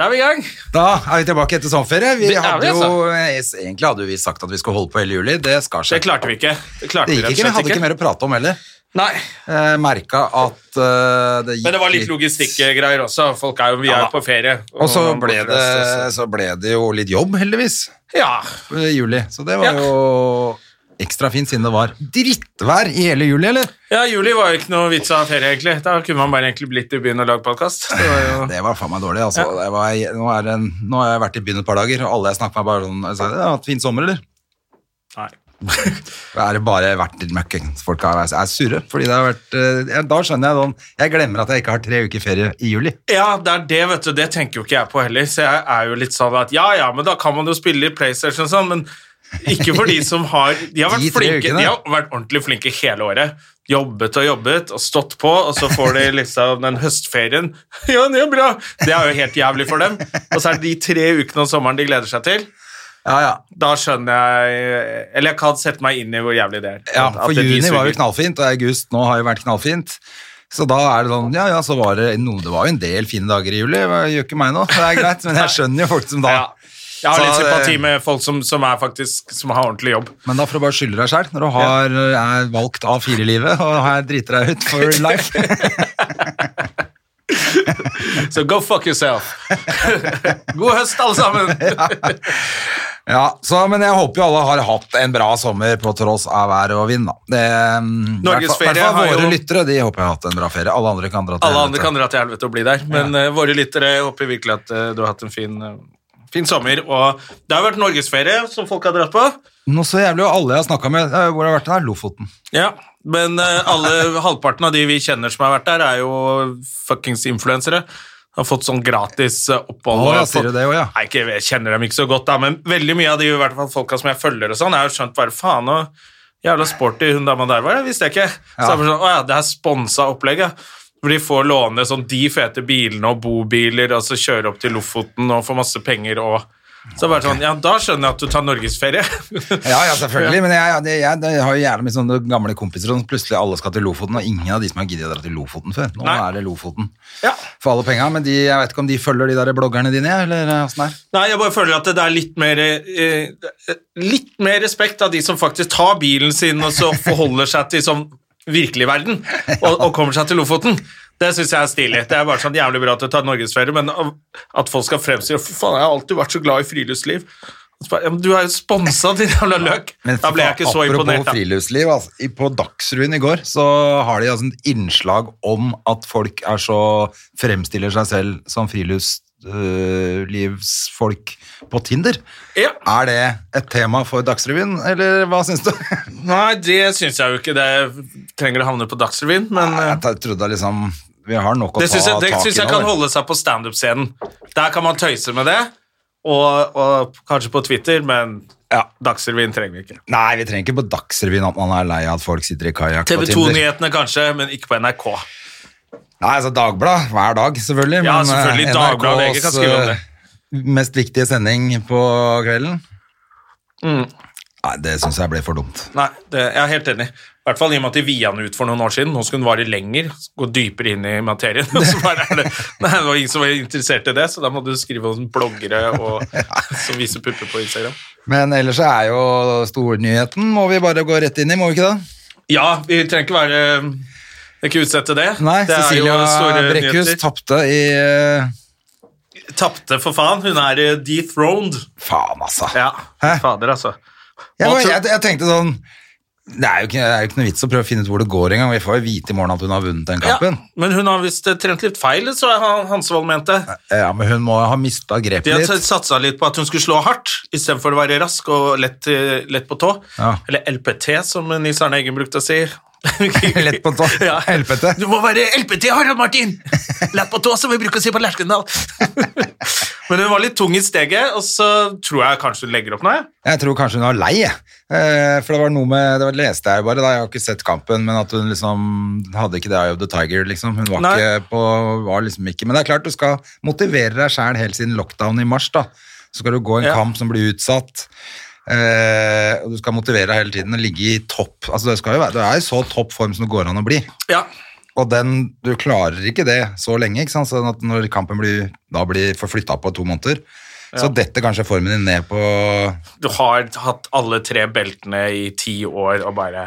Da er vi i gang. Da er vi tilbake etter sommerferie. Vi Det er hadde vi, altså. jo, eh, egentlig hadde vi sagt at vi skulle holde på hele juli. Det skar Det seg. klarte vi ikke. Det, klarte Det gikk vi ikke. rett og Vi slett hadde ikke mer å prate om heller. Nei, Eh, Merka at eh, det gikk men det var litt logistikkgreier også. Folk er jo, vi er Ja jo da. på ferie. Og så man ble, blir det, stress så ble det jo litt jobb, heldigvis, også. Ja, i juli. Så det var Ja. jo ekstra fint siden det var drittvær i hele juli, eller? Ja, juli var jo ikke noe vits av ferie, egentlig. Da kunne man bare egentlig blitt i byen og lagd podkast. Det var faen meg dårlig, altså. Det var, nå, er det, en- nå har jeg vært i byen et par dager, og alle jeg snakker med, bare sånn jeg sa, «Ja, 'Har du hatt fin sommer, eller?' Da er det bare vært litt møkking. Folk er, er surre. Fordi det har vært eh, ja, Da skjønner jeg sånn Jeg glemmer at jeg ikke har tre uker ferie i juli. Ja, det er det, vet du. Det tenker jo ikke jeg på heller. Så jeg er jo litt sånn at ja, ja, men da kan man jo spille i PlayStation og sånn, men ikke for de som har De har vært, De tre flinke, ukene. de har vært ordentlig flinke hele året. Jobbet og jobbet og stått på, og så får de liksom den høstferien. Ja, det er bra! Det er jo helt jævlig for dem. Og så er det de tre ukene om sommeren de gleder seg til. Ja, ja. Da skjønner jeg Eller jeg kan sette meg inn i hvor jævlig det er. ja At- for at det de juni var jo suger. knallfint, og august nå har jo vært knallfint. Så da er det sånn Ja, ja, så var det noen Det var jo en del fine dager i juli. Det gjør ikke meg nå. Det er greit, men jeg skjønner jo folk som da Ja. Jeg har Så eh, litt det- sympati med folk som, som er faktisk Som har ordentlig jobb. Men da får du bare skylde deg sjøl når du har, eh, er valgt A4-livet og her driter deg ut for life. Så go fuck yourself. God høst, alle sammen. Ja, så, Men jeg håper jo alle har hatt en bra sommer på tross av vær og vind, da. Det, mm, Norges hvertfall- ferie hvertfall har Våre jo- lyttere de håper jeg har hatt en bra ferie. Alle andre kan dra til Alle andre helvete. kan dra til helvete og bli der, men eh, våre lyttere, jeg håper virkelig at eh, du har hatt en fin, eh, fin sommer. Og det har vært norgesferie som folk har dratt på. Nå så jævlig jo alle jeg har snakka med, eh, hvor har vært den her? Lofoten. Ja, Men eh, alle halvparten av de vi kjenner som har vært der, er jo fuckings influensere. Har fått sånn gratis eh, opphold. Å, ja, og fått- sier du det også, ja. Nei, ikke, jeg kjenner dem ikke så godt, da, men veldig mye av de i hvert fall folka som jeg følger, og sånn, jeg har jo skjønt bare faen og jævla sporty hun dama der var, det visste jeg ikke. Så Ja. jeg bare sånn, å ja, det er sponsa opplegg, ja. Hvor de får låne sånn de fete bilene og bobiler, og så kjøre opp til Lofoten og få masse penger og Så bare sånn, ja, da skjønner jeg at du tar norgesferie. Ja, ja, selvfølgelig, men jeg, jeg, jeg, jeg har jo gjerne mye sånne gamle kompiser som plutselig alle skal til Lofoten, og ingen av de som har giddet å dra til Lofoten før. Nå Nei. er det Lofoten Ja. for alle penga, men de, jeg vet ikke om de følger de der bloggerne dine, eller eh, åssen det er. Nei, jeg bare føler at det er litt mer eh, Litt mer respekt av de som faktisk tar bilen sin og så forholder seg til sånn virkelig verden, og, og kommer seg til Lofoten. Det syns jeg er stilig. Det er bare sånn jævlig bra at du tar norgesferie, men av- at folk skal fremstille For faen, jeg har alltid vært så glad i friluftsliv. Og så bare, Ja, men du er jo sponsa, din jævla løk. Men Da ble jeg ikke så imponert, Apropos da. friluftsliv, altså, i- på Dagsrevyen i går så har de altså et innslag om at folk er så fremstiller seg selv som friluftslivsfolk på Tinder. Ja. Er det et tema for Dagsrevyen, eller hva syns du? Nei, det syns jeg jo ikke. Det trenger å havne på Dagsrevyen, men eh, Jeg trodde liksom Vi har nok å Det syns ta jeg, det tak i synes jeg nå, kan vel. holde seg på standup-scenen. Der kan man tøyse med det, og, og kanskje på Twitter, men Ja. Dagsrevyen trenger vi ikke. Nei, vi trenger ikke på Dagsrevyen at man er lei av at folk sitter i kajakk TV på Tinder. 2-nyhetene kanskje, men ikke på NRK. Nei, altså Dagbladet hver dag, selvfølgelig. Ja, men, eh, selvfølgelig, Dagbladet og VG kan NRKs, skrive om det. eh, mest viktige sending på kvelden. Mm. Nei, det syns jeg ble for dumt. Nei, det, jeg er helt enig. I hvert fall i og med at de via den ut for noen år siden. Nå skulle den vare lenger, gå dypere inn i materien. Og så bare er det, nei, det var ingen som var interessert i det, så da må du skrive om bloggere og, som viser pupper på Instagram. Men ellers så er jo stornyheten må vi bare gå rett inn i, må vi ikke det? Ja, vi trenger ikke være eh, ikke utsette det. Nei, det er jo Cecilia store Brekkhus nyheter. tapte i eh, Tapte for faen. Hun er eh, dethroned. Faen, altså. Ja, Hæ? fader, altså. Jeg, Og var- tro- jeg, jeg tenkte sånn det er, jo ikke, det er jo ikke noe vits å prøve å finne ut hvor det går engang. Vi får jo vite i morgen at hun har vunnet den Ja, kampen. men hun har visst eh, trent litt feil, så er han- Hansevold mente. Ja, Men hun må ha mista grepet De har litt. satsa litt på at hun skulle slå hardt istedenfor å være rask og lett, eh, lett på tå. Ja. Eller LPT, som Nils Arne Eggen brukte å si. Lett på tå. Ja. LPT. Du må være LPT, Harald Martin! Lett på tå, som vi bruker å si på Lerkendal. Men hun var litt tung i steget, og så tror jeg kanskje hun legger opp nå. jeg. Jeg tror kanskje hun var lei, jeg. Eh, for det var noe med Det var leste jeg bare, da. Jeg har ikke sett kampen, men at hun liksom hadde ikke det eye of the tiger, liksom. Hun var Nei. ikke på Var liksom ikke Men det er klart, du skal motivere deg sjæl helt siden lockdown i mars, da. Så skal du gå en Ja. kamp som blir utsatt. Eh, og du skal motivere deg hele tiden og ligge i topp. Altså, det skal jo være, du er i så topp form som det går an å bli. Ja. Og den, du klarer ikke det så lenge, ikke sant? Sånn at når kampen blir, da blir forflytta på to måneder, så detter kanskje formen din ned på Men Du har hatt alle tre beltene i ti år og bare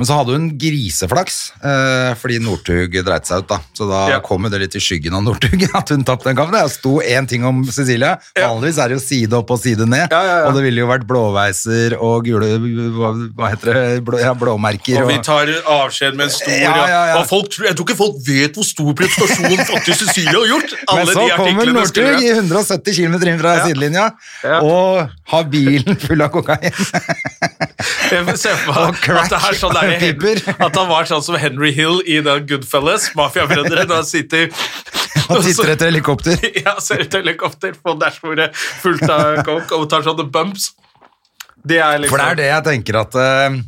så hadde hun griseflaks, eh, fordi Northug dreit seg ut, da. Så da Ja. kom jo det litt i skyggen av Northug at hun tapte den kampen. Det sto én ting om Cecilia. Vanligvis er det jo side opp og side ned, Ja, ja, ja. og det ville jo vært blåveiser og gule Hva, hva heter det? Blå, ja, blåmerker. Og vi tar avskjed med en stor Ja, ja, ja. Og folk, tror- Jeg tror ikke folk vet hvor stor prestasjon faktisk Cecilie har gjort. Alle Men så de kommer artiklene skulle Northug i 170 km inn fra sidelinja og har bilen full av kokain. Jeg ser for meg Og crack at det er sånn og der, pipper. At han var sånn som Henry Hill i The Goodfellas, Mafiabrødre, da han sitter Og titter etter helikopter. Ja, ser ut til helikopter på dashbordet fullt av coke og tar sånne bumps. Det er liksom For det er det jeg tenker at eh,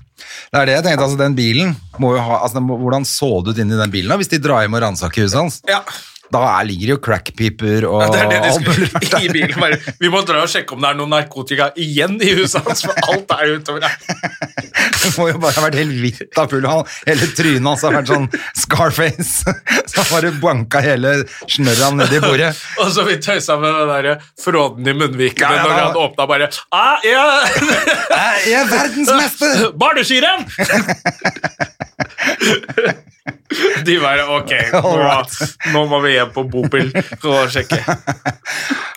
Det er det jeg tenkte, altså den bilen må jo ha altså, den må, Hvordan så det ut inni den bilen da, hvis de drar hjem og ransaker huset hans? Ja, Da er, ligger det jo crackpiper og ja, det er det de alt mulig skulle rart i der. bilen. Bare. Vi må dra og sjekke om det er noe narkotika igjen i huset hans, for alt er jo utover der. Det må jo bare ha vært helt hvitt av full. Han, hele trynet hans har vært sånn Scarface. Så han bare banka hele snørra ned i bordet. Og så vi tøysa med den der fråden i munnvikene Ja, ja, når da- han åpna bare ah, ja. Jeg er verdensmester! Barneskirenn! De bare ok, nå, Alright. nå må vi hjem på Bopil og sjekke.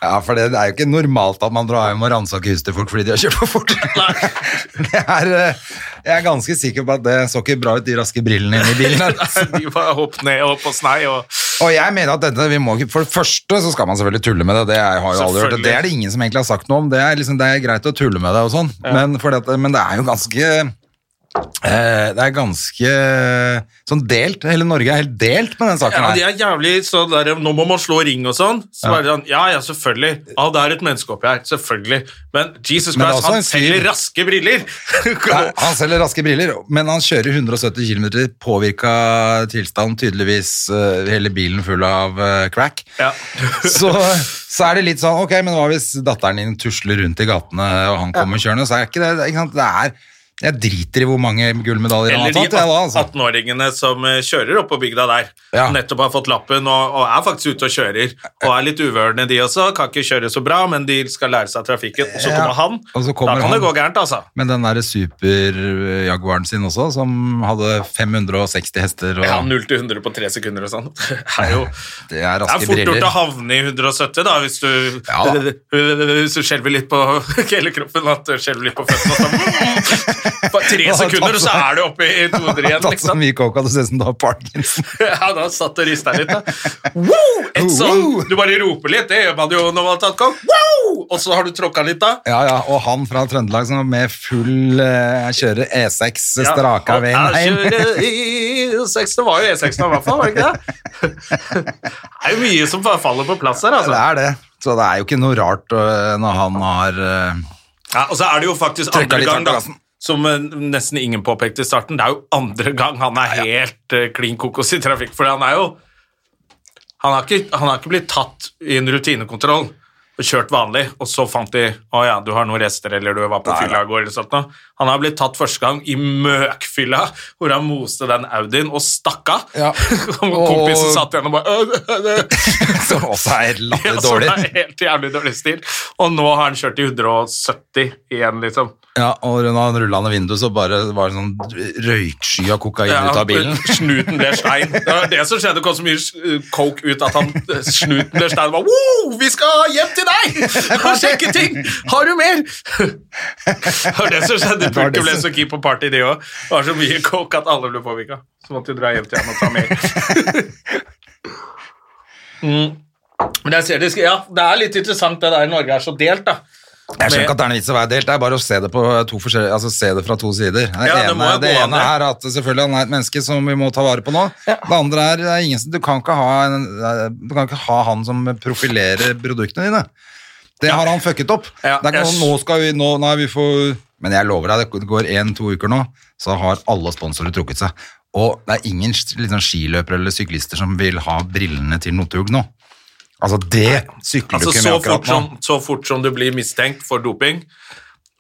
Ja, for det, det er jo ikke normalt at man drar hjem og ransaker huset til folk fordi de har kjørt for fort. Nei. Det er, eh, jeg er ganske sikker på at det så ikke bra ut, de raske brillene inne i bilen. her. De var hopp ned og på snei og Og jeg mener at dette, vi må ikke, for det første så skal man selvfølgelig tulle med det, det har jeg jo aldri hørt, og det er det ingen som egentlig har sagt noe om, det er, liksom, det er greit å tulle med det og sånn, men, fordi at- men det er jo ganske... eh, Det er ganske sånn delt, hele Norge er helt delt med den saken Ja, her. de er jævlig sånn der Nå må man slå ring og sånn. Så bare sånn Ja, ja, selvfølgelig. Ja, det er et menneske oppi her. Selvfølgelig. Men Jesus Men det er Christ, også han en fyr- selger raske briller! Ja, han selger raske briller, men han kjører 170 km i påvirka tilstand, tydeligvis eh, hele bilen full av eh, crack. Ja. så, så er det litt sånn, ok, men hva hvis datteren din tusler rundt i gatene, og han kommer kjørende, så er ikke det, det er ikke sant, det er, jeg driter i hvor mange gullmedaljer han har Eller de tatt, jeg da, altså. 18-åringene som eh, kjører opp på bygda der. Ja. Nettopp har fått lappen og, og er faktisk ute og kjører. Og er litt uvørende, de også. Kan ikke kjøre så bra, men de skal lære seg trafikken. Og så Ja. kommer han. Og så kommer da kan han. det gå gærent, altså. Men den der super-jaguaren sin også, som hadde 560 hester, og Ja, 0 til 100 på 3 sekunder og sånn. Det er jo det er Det er raske fort briller. gjort å havne i 170 da, hvis du, Ja da. hvis du skjelver litt på hele kroppen. At du skjelver litt på føttene. og så- På tre har tatt sekunder, og så seg- er du oppe i 200 Han har igjen. tatt så Liksom. mye coke at det ser ut som du har Parkinson. Ja, da satt og rista litt. Da. Wow! Et sånn, du bare roper litt, det gjør man jo når man har tatt kokk. Wow! Og så har du tråkka litt, da. Ja, ja, og han fra Trøndelag som var med full eh, kjører E6 straka veien hjem. hjem. Det var jo E6 nå, i hvert fall. var det ikke det? Det er jo mye som bare faller på plass her, altså. Det er det. Så det er jo ikke noe rart øh, når han har øh, Ja, og så er det jo faktisk Trykka andre litt gang, hardt på da, gassen. som eh, nesten ingen påpekte i starten, det er jo andre gang han er helt eh, klin kokos i trafikk, for han er jo han har, ikke, han har ikke blitt tatt i en rutinekontroll og kjørt vanlig, og så fant de å ja, du har noen rester eller du var på fylla i går eller sånt noe. Han har blitt tatt første gang i møkfylla, hvor han moste den Audien og stakk av. Ja. og kompisen satt igjen og bare «Øh, øh, øh». Som også er Ja, latterlig så Altså, det dårlig. er helt jævlig dårlig stil. Og nå har han kjørt i 170 igjen, liksom. Ja, og når han rulla ned vinduet, så bare var det sånn røyksky av kokain ut av bilen. Snuten ble stein. Det var det som skjedde. Det kom så mye eh, coke ut at han, eh, snuten ble stein. Bare, wow, vi skal hjem til deg og sjekke ting! Har du mer? Det var det som var det skjedde. Pulke ble som- så keen på party, de òg. Det var så mye coke at alle ble påvirka. Så måtte de dra hjem til ham og ta mer. Mm. Men jeg ser det, ja, det er litt interessant det der Norge er så delt, da. Jeg skjønner ikke at det er noen vits i å være delt, det er bare å se det, på to forskjellige- altså, se det fra to sider. Det, Ja, det ene, må jo gå det an, ene er at selvfølgelig han er et menneske som vi må ta vare på nå. Det andre er, det er ingen, som- du, kan ikke ha en, du kan ikke ha han som profilerer produktene dine. Det har han fucket opp. Ja, det er ikke jeg- sånn, nå skal vi, nå, nei, vi får... Men jeg lover deg, det går en-to uker nå, så har alle sponsorer trukket seg. Og det er ingen liksom, skiløpere eller syklister som vil ha brillene til Notthug nå. Altså, det sykler du Altså, ikke med så, fort akkurat nå. som, så fort som du blir mistenkt for doping,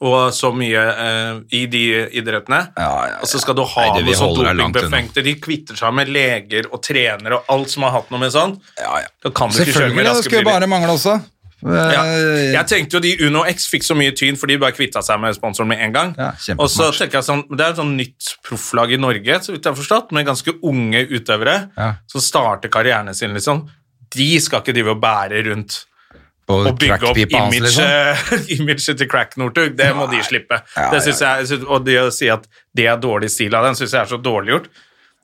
og så mye eh, i de idrettene, Ja, ja, ja. og så skal du ha Nei, det- vi noe sånn holder deg langt dopingbefengte De kvitter seg med leger og trenere og alt som har hatt noe med sånn. Da kan du ikke kjøre Selvfølgelig, med det raske skulle biler. bare mangle også. Ja. Eh, Jeg tenkte jo de Uno X fikk så mye tyn, for de bare kvitta seg med sponsoren med en gang. Ja, kjempesmart. og så tenker jeg sånn, Det er et sånn nytt profflag i Norge, så vidt jeg har forstått, med ganske unge utøvere Ja. som starter karrieren sin, liksom. De skal ikke drive og bære rundt og å bygge opp crackpipa hans, imaget liksom. imaget til Crack Northug. Det må de slippe. det synes jeg, synes- og det å si at det er dårlig stil av dem, syns jeg er så dårlig gjort.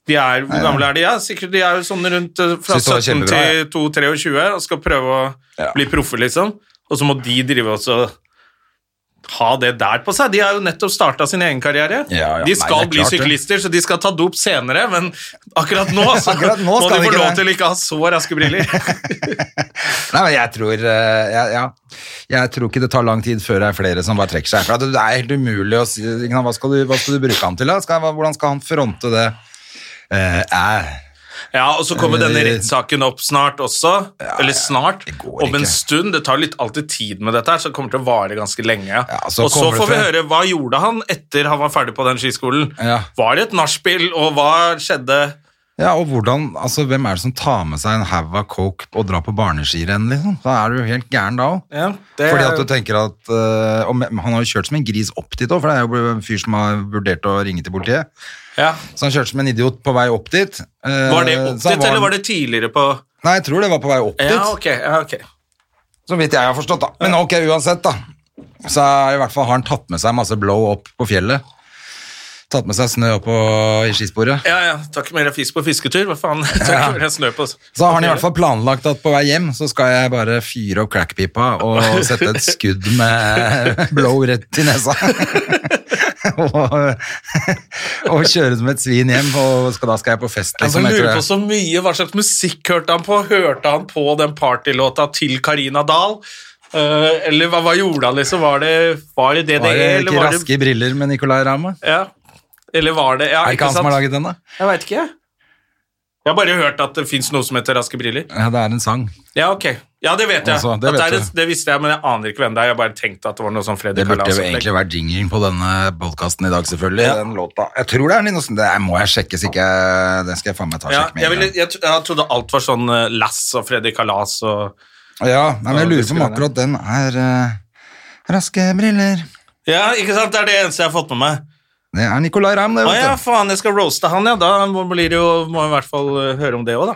De er, hvor gamle er de? Ja, sikkert de er jo sånn rundt eh, fra Synes det var 17 kjempebra, til 22-23 og skal prøve å bli proffe, liksom. Og så må de drive også ha det der på seg. De har jo nettopp starta sin egen karriere. Ja, ja, de nei, skal det er bli klart det. syklister, så de skal ta dop senere, men akkurat nå, så Akkurat nå må skal de de få ikke lov det. til å ikke ha så raske briller. Nei, men jeg tror, eh, jeg, ja, jeg tror ikke det tar lang tid før det er flere som bare trekker seg. For at det er helt umulig å si ikke sant, hva, skal du, hva skal du bruke han til? da? Skal, hva- hvordan skal han fronte det? Eh, eh, Ja, og så kommer Eh, denne rettssaken opp snart også. eller snart. det går Om en ikke. stund. Det tar litt alltid tid med dette her, så det kommer til å vare ganske lenge. så og kommer så det får vi til- høre hva gjorde han etter han var ferdig på den skiskolen. Ja. Var det et nachspiel, og hva skjedde? ja, og hvordan, altså, Hvem er det som tar med seg en haug av coke og drar på barneskirenn? Liksom? Da er du jo helt gæren da òg. Ja, det Fordi er at jo- du tenker at eh, og men- Han har jo kjørt som en gris opp dit òg, for det er jo en fyr som har vurdert å ringe til politiet. ja. Så han kjørte som en idiot på vei opp dit. Eh, Var det opp så han dit, eller var det tidligere på Nei, jeg tror det var på vei opp dit. Ja, ok. Ja, ok. Så vidt jeg har forstått, da. Men ok, uansett, da. Så er det i hvert fall har han tatt med seg masse blow opp på fjellet. Tatt med seg snø opp på, i skisporet. ja, ja. Takk mer fisk på fisketur. Hva faen? Takk mer snø på Så har han i hvert fall planlagt at på vei hjem så skal jeg bare fyre opp crackpipa og sette et skudd med blow rett i nesa. og, og kjøre som et svin hjem, og skal, da skal jeg på fest, Altså, Jeg liksom. lurer etter på det. så mye Hva slags musikk hørte han på? Hørte han på den partylåta til Karina Dahl? Eh, eller hva, hva gjorde han, liksom? Var det, var det DDE, Var det eller ikke var det Raske briller med Nicolay Ramme? ja. Eller var det Ja, Er det ikke ikke han som sant? har laget den, da? Jeg veit ikke, jeg. Jeg har bare hørt at det fins noe som heter Raske briller. Ja, det er en sang. Ja, ok. Ja, det vet jeg. Altså, det At vet det, er, du. det visste jeg, men jeg aner ikke hvem det er. Jeg bare tenkte at det var noe sånn Freddy Det burde jo Kalas-opplegg. egentlig vært jinglen på denne podkasten i dag, selvfølgelig. Den låta. Jeg tror det er Nino Sund- Det er- må jeg sjekke, så ikke Den skal jeg faen meg ta og Ja, sjekke med. en jeg, ville, gang. jeg, tro- jeg trodde alt var sånn eh, Lass og Freddy Kalas og Ja, nei, men jeg Ja, lurer det på om skulle akkurat den er eh, Raske briller Ja, ikke sant? Det er det eneste jeg har fått med meg. Det er Nicolay Ramm, det, Å Ah, ja, vet du. faen, jeg skal roaste han, ja. Da må blir det jo, må jeg i hvert fall eh, høre om det òg, da.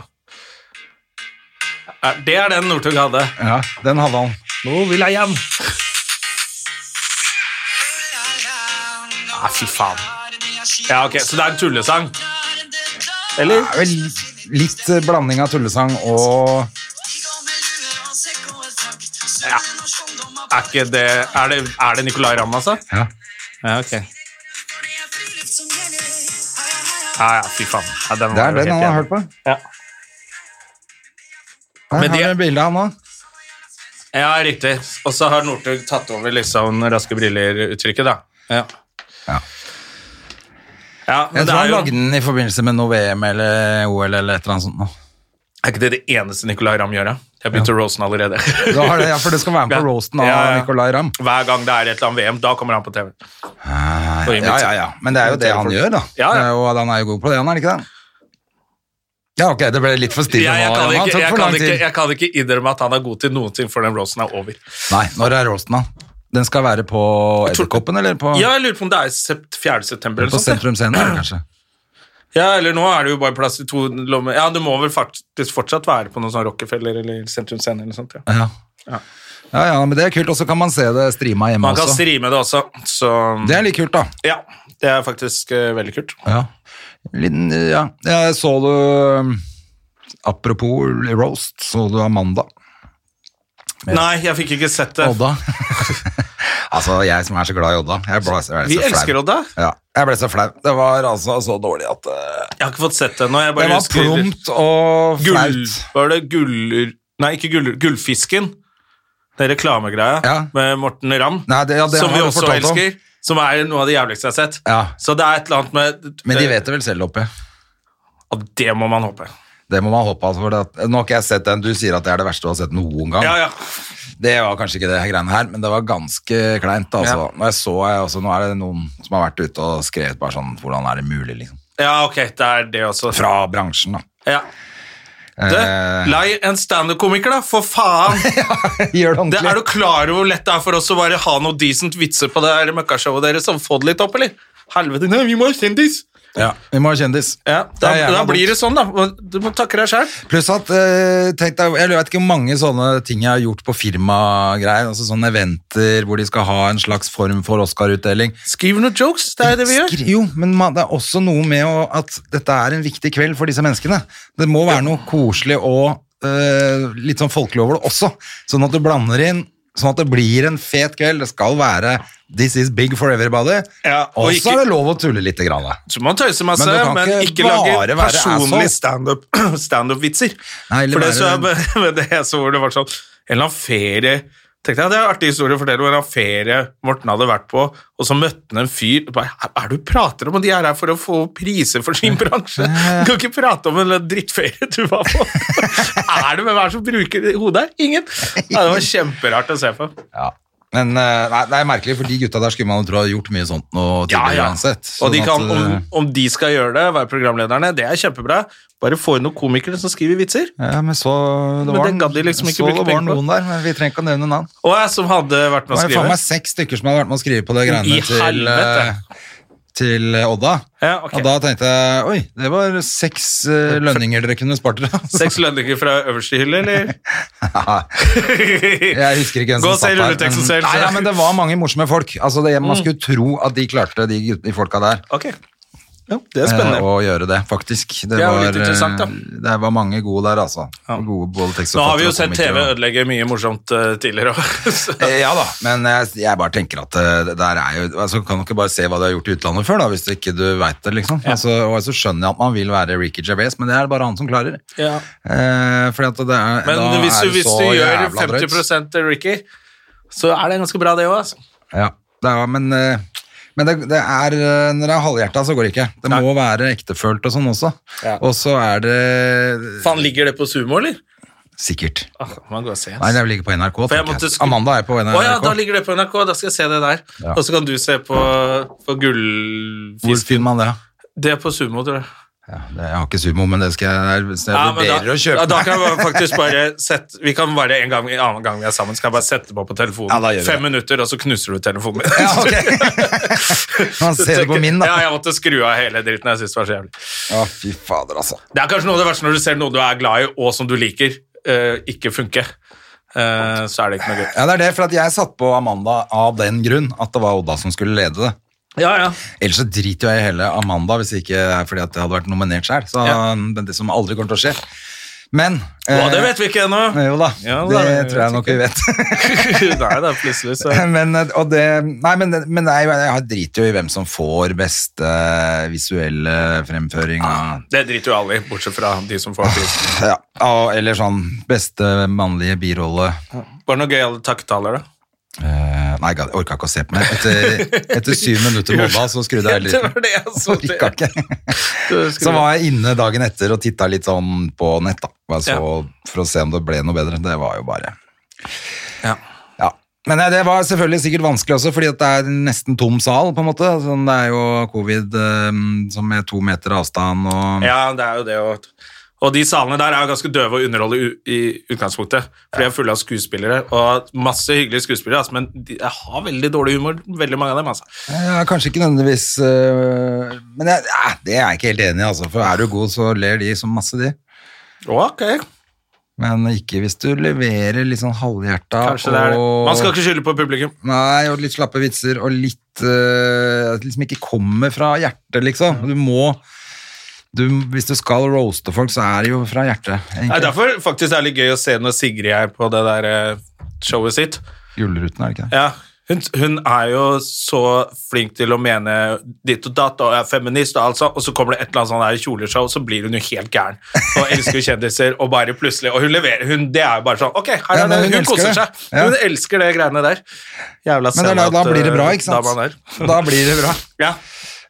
Er- Det er den Northug hadde. Ja, den hadde han. Nå vil jeg hjem. Nei, Ah, fy faen. Ja, ok, Så det er en tullesang? Eller? Det er vel litt eh, blanding av tullesang og Ja. Er, ikke det, er, det, er det Nicolay Ramm, altså? Ja. Ja, ok. Ja, ja, fy faen. Ja, den Det var er den jo helt han har jævlig. hørt på. Ja. Der Men har det- vi bildet av han òg. Ja, riktig. Og så har Northug tatt over liksom Raske briller-uttrykket, da. Ja. Ja. Ja, Jeg men det tror er han jo lagde den i forbindelse med noe VM eller OL eller et eller annet sånt. nå. Er ikke det det eneste Nicolay Ramm gjør, da? Jeg begynte å roaste han allerede. Da har det, ja, for det skal være med på roasten av Ja, ja. Nicolay Ramm. Hver gang det er et eller annet VM, da kommer han på TV. Ah, Og Ja, imitere. ja, ja. Men det er jo det han Imitere gjør, folk. da. Ja, ja. Det er jo, han er jo god på det, han er ikke det? Ja, ok, det ble litt for Jeg, stille jeg, nå. kan Jan. Han ikke, tok jeg, for lang kan ikke, tid. jeg kan ikke innrømme at han er god til noen ting før den roasten er over. Nei, når er roasten, da? Den skal være på Edderkoppen, eller på, Ja, jeg lurer på om det er sept- 4. september eller sånn, på noe Sentrum sånt. Scene, eller kanskje? ja. Ja, eller nå er det jo bare plass til to lommer. Ja, det må vel faktisk fortsatt være på noe sånn Rockefeller eller Sentrum Scene eller noe sånt, ja. Ja. Ja. ja, ja, men det er kult. Og så kan man se det streama hjemme Man kan også. streame det også, så Det er litt kult, da. Ja, det er faktisk eh, veldig kult. Ja. Liten, ja. Jeg så du um, Apropos roast, så du Amanda? Nei, jeg fikk ikke sett det. Odda? Altså, jeg som er så glad i Odda. Jeg ble, jeg ble Vi så flau. elsker Odda. Ja, jeg ble så flau. Det var altså så dårlig at eh, Jeg har ikke fått sett det nå. Jeg Det bare var husker prompt og gull, flaut. Var det guller... Nei, ikke guller, gullfisken. Den reklamegreia Ja. med Morten Ramm, Nei, det- ja, det som har vi han også fortalt om. elsker. Som er noe av det jævligste jeg har sett. Ja. Så det er et eller annet med Men de vet det vel selv, Oppi. Ja, det må man håpe. Det må man håpe. Altså, for det at, nå har ikke jeg sett den. Du sier at det er det verste du har sett noen gang. Ja, ja. Det var kanskje ikke det greiene her, men det var ganske kleint. Altså. Ja. Når jeg så, jeg, altså, nå er det noen som har vært ute og skrevet bare sånn Hvordan er det mulig, liksom? ja ok, det er det også. Fra bransjen, da. Ja. Du, Eh. lei en standup-komiker, da, for faen! Gjør det Det, er ordentlig. du klar over hvor lett det er for oss å bare ha noe decent vitser på det her møkkashowet deres og få det litt opp, eller? Helvete, nei, vi må ha kjendis! Ja. Vi må ha kjendis. Ja, da, Det er jævla da blir dumt. det sånn, da. Du må takke deg sjæl. Pluss at eh, tenk deg, jeg vet ikke hvor mange sånne ting jeg har gjort på firmagreier. Altså sånne eventer hvor de skal ha en slags form for Oscar-utdeling. Skriv noen jokes, det er det vi gjør. Skri- Jo, men man, det er også noe med å, at dette er en viktig kveld for disse menneskene. Det må være noe koselig og eh, litt sånn folkelig over det også, sånn at du blander inn, sånn at det blir en fet kveld. Det skal være This is big for everybody. Ja, og og så ikke- er det lov å tulle litt. Grann, da. Så man tøyser masse, Men du men, kan ikke ikke, bare lage være personlige asshole. standup- standup-vitser. Nei, eller For det være- så jeg med- med det jeg så hvor det var sånn En eller annen ferie tenkte jeg, Det er en artig historie å fortelle om en eller annen ferie Morten hadde vært på, og så møtte han en fyr bare, Hva er det du prater om? Og de er her for å få priser for sin bransje. Du kan ikke prate om en eller annen drittferie du var på. er det med hver som bruker hodet her? Ingen. Ja, det var kjemperart å se på. Ja. Men eh, nei, det er merkelig, for de gutta der skulle man jo tro har gjort mye sånt nå Ja, tidligere ja. uansett. Og de Sånn kan, at, om, eh, om de skal gjøre det, være programlederne, det er kjempebra. Bare få inn noen komikere som skriver vitser. eh, Ja, men så det Men var, det gadd de liksom ikke så bruke det var penger på. noen der, men vi trenger ikke å nevne navn. Og jeg som hadde vært Det med var jo å faen skrive. meg seks stykker som hadde vært med å skrive på det I greiene til, helvete. eh, til eh, Odda. Ja, ok. Og da tenkte jeg Oi, det var seks eh, lønninger dere kunne spart dere. Seks lønninger fra øverste hylle, eller? jeg husker ikke hvem som Gå og se satt der. rulleteksten men- selv, så- Mm. Nei, ja, men det var mange morsomme folk. Altså, det, man skulle tro at de klarte, de, gut- de folka der, Ok. Ja, det er eh, spennende. å gjøre det, faktisk. Det, er jo var, litt interessant, da. eh, det var mange gode der, altså. Gode, både tekstforfattere Nå har vi jo og sett TV komikere. ødelegge mye morsomt eh, tidligere også, så- Eh, Ja da, men jeg, jeg bare tenker at eh, det der er jo altså, Kan du ikke bare se hva du har gjort i utlandet før, da, hvis du ikke du veit det, liksom? Altså, og så skjønner jeg at man vil være Ricky Gervais, men det er det bare han som klarer. Ja. Eh, fordi at det er, Men da hvis du, er det hvis så du gjør jævla drøyt. 50 til Ricky, så er det ganske bra, det òg. Altså. Ja, det er, men, eh, men det, det er eh, Når det er halvhjerta, så går det ikke. Det må være ektefølt og sånn også. Ja. Og så er det Faen, ligger det på sumo, eller? Sikkert. Ah, man går og ser. Nei, det vil ligge på NRK. For jeg tenker måtte jeg. skru- Amanda er på NRK. Å ja, da ligger det på NRK, da skal jeg se det der. Ja. Og så kan du se på, på Hvor gullfisk. finner man det? Det er på sumo, tror jeg. Ja, det, jeg har ikke sumo, men det skal jeg, jeg Ja, men vurderer å kjøpe. ja, da kan jeg faktisk bare sette Vi kan bare en, gang, en annen gang vi er sammen, skal jeg bare sette på på telefonen. Ja, da gjør vi Fem det. minutter, og så knuser du telefonen min. Ja, ok. Man ser det på min, da. Ja, jeg måtte skru av hele dritten. Jeg synes det var så jævlig. Å, fy fader, altså. Det er kanskje noe av det verste når du ser noe du er glad i, og som du liker, eh, ikke funke. Eh, så er det ikke noe gøy. Ja, det er det, for at jeg satt på Amanda av den grunn at det var Odda som skulle lede det. Ja, ja. Ellers så driter jo jeg i hele Amanda hvis ikke det er fordi at jeg hadde vært nominert sjøl. Så Ja. men det som aldri kommer til å skje. Men Å, eh, det vet vi ikke ennå. Nei, Jo da, Ja, da, det jeg tror vet jeg nok vi vet. det er plutselig så men, eh, og det, nei, men, det- men nei, jeg driter jo i hvem som får beste eh, visuelle fremføring. av Det driter jo alle i, bortsett fra de som får prisen. ja, av- eller sånn beste mannlige birolle. Var det noe gøyale takketaler, da? Eh, nei, jeg orka ikke å se på meg. Etter, etter syv minutter med Odda, så altså, skrudde jeg Det var litt. det jeg så. Så orka ikke. Du skulle- Så var jeg inne dagen etter og titta litt sånn på nett, da. Bare så, For å se om det ble noe bedre. Det var jo bare Ja. Ja. Men nei, det var selvfølgelig sikkert vanskelig også, fordi at det er en nesten tom sal, på en måte. Sånn, det er jo covid eh, som med to meter avstand og Ja, det er jo det. Og, og de salene der er jo ganske døve å underholde u i utgangspunktet. For de er fulle av skuespillere, og masse hyggelige skuespillere, altså, men de jeg har veldig dårlig humor, veldig mange av dem. altså. Ja, Kanskje ikke nødvendigvis eh, Men jeg, ja, det er jeg ikke helt enig i, altså. For er du god, så ler de som masse, de. Ok, Men ikke hvis du leverer litt sånn halvhjerta kanskje det er det. og Man skal ikke skylde på publikum. Nei, og litt slappe vitser og litt eh, at det liksom ikke kommer fra hjertet, liksom. Mm. Du må du, Hvis du skal roaste folk, så er det jo fra hjertet. Nei, egentlig. derfor faktisk er det litt gøy å se når Sigrid er på det der eh, showet sitt. Gullruten, er det ikke det? Ja, Hun, hun er jo så flink til å mene ditt og datt og er feminist, og alt sånt, og så kommer det et eller annet sånn her kjoleshow, så blir hun jo helt gæren. Og elsker jo kjendiser, og bare plutselig Og hun leverer hun, Det er jo bare sånn Ok, her Ja, er det, men hun hun, elsker koser det. seg. Ja. Hun elsker det greiene der. Jævla Men det er da, da sellout, blir det bra, eh, ikke sant? dama der. Da blir det bra. Ja.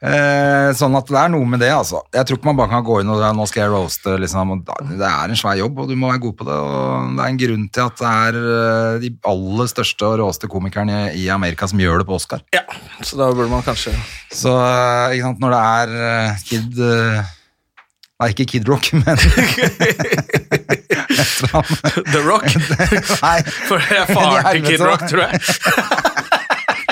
Eh, sånn at det er noe med det, altså. Jeg tror ikke man bare kan gå inn og nå skal jeg roaste, liksom. og da- Det er en svær jobb, og du må være god på det. Og det er en grunn til at det er eh, de aller største og råeste komikerne i Amerika som gjør det på Oscar. ja. Så da burde man kanskje Så eh, ikke sant, når det er eh, Kid eh, Nei, ikke Kid Rock, men The Rock. Nei. For det er faren til Kid Helvete. Rock, tror jeg.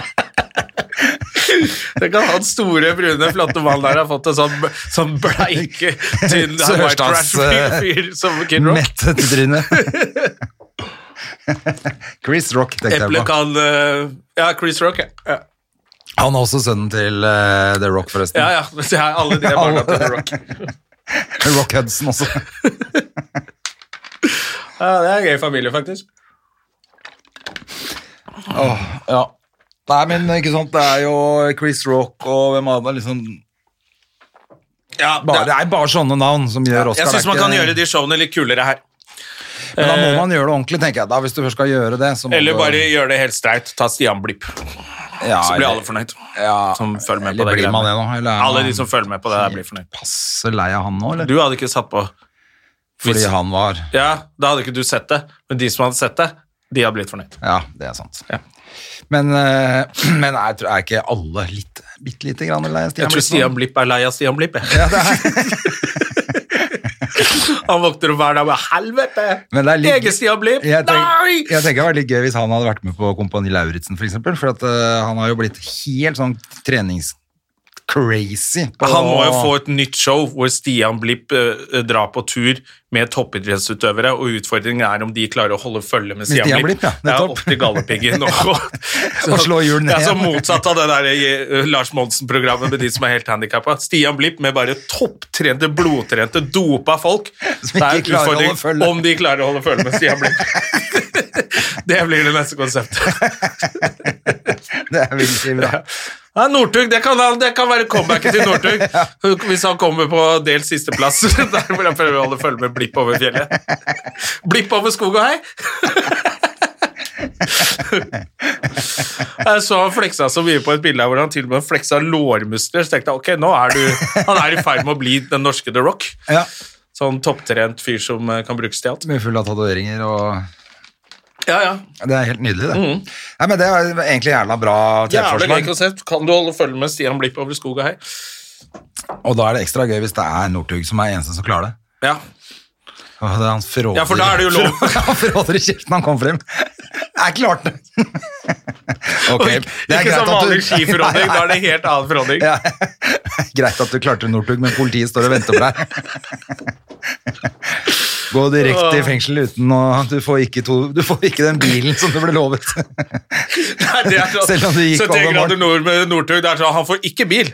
Det kan han store, brune, flotte mannen der har fått en sånn, sånn bleike, tynn white Sørstads, eh, trash-fyr som Kid Rock. Mette til trynet. Chris Rock, tenkte Eplet jeg på. kan eh, Ja, Chris Rock, ja. ja. Han er også sønnen til eh, The Rock, forresten. Ja, ja. Se her, alle de barna til The Rock. Rock Hudson også. Ja, det er en gøy familie, faktisk. Ja. Nei, men ikke sant, det er jo Chris Rock og hvem annet liksom Ja, bare, det Det er bare sånne navn som gjør Oscar. jeg det er syns man ikke- kan gjøre de showene litt kulere her. Men da må man gjøre det ordentlig, tenker jeg. Da, hvis du først skal gjøre det, så må Eller du bare gjøre det helt streit. Ta Stian Blipp, ja, så blir eller- alle fornøyd. ja, Som følger med på eller det blir man det nå? greiene. Eller er Alle man de som følger med på det, der blir fornøyd. passe lei av han nå, eller? Du hadde ikke satt på Fordi hvis- han var Ja, da hadde ikke du sett det, men de som hadde sett det, de hadde blitt fornøyd. Ja, det er sant. Ja. Men, eh, men er, er ikke alle litt, bitte lite grann lei av Stian Jeg tror Blipp nå? Stian Blipp er lei av Stian Blipp, jeg. Han våkner opp hver dag med 'helvete'! Men det er litt- Egen Stian Blipp! Jeg tenker, Nei! jeg tenker det var litt gøy hvis han hadde vært med på Kompani Lauritzen, for eksempel. For at, eh, han har jo blitt helt sånn treningscrazy. på- Han må jo få et nytt show hvor Stian Blipp eh, drar på tur med toppidrettsutøvere, og utfordringen er om de klarer å holde følge med Stian, Stian Blipp, ja, Blipp. nettopp. opp til Galdhøpiggen og, Og slå hjul ned. Det er så motsatt av det der eh, Lars Monsen-programmet med de som er helt handikappa. Stian Blipp med bare topptrente, blodtrente, dopa folk. Som Det er ikke klarer å holde utfordring følge. om de klarer å holde følge med Stian Blipp. Det blir det neste konseptet. Det er veldig bra. Ja, Northug, det, kan- det kan være comebacket til Northug. Hvis han kommer på delt sisteplass. Der hvor han prøver å holde følge med blipp over fjellet. Blipp over skog og hei! Jeg så han fleksa så mye på et bilde her hvor han til og med fleksa lårmuskler. Så tenkte jeg ok, nå er du Han er i ferd med å bli den norske The Rock. Ja. Sånn topptrent fyr som eh, kan brukes til alt. Med full av tatoveringer og Ja, ja. Det er helt nydelig, det. Nei, men det er egentlig jævla bra Mm. Jævlig gøy TV-forslag. konsept. Kan du holde følge med Stian Blipp over skog og hei? Og da er det ekstra gøy hvis det er Northug som er eneste som klarer det. Ja. Åh, det er han fråder, Ja, for da er det jo lov. Han fråder i kjeften når han kommer frem. Jeg klarte det! Ok, Ikke- ikke som vanlig skifråding, da er det helt annen fråding. Ja. Greit at du klarte Northug, men politiet står og venter på deg. Gå direkte i fengsel uten å Du får ikke, to, du får ikke den bilen som du ble lovet. Nei, det er sånn, Selv om det gikk 71 over grader nord med Northug, det er sånn, han får ikke bil!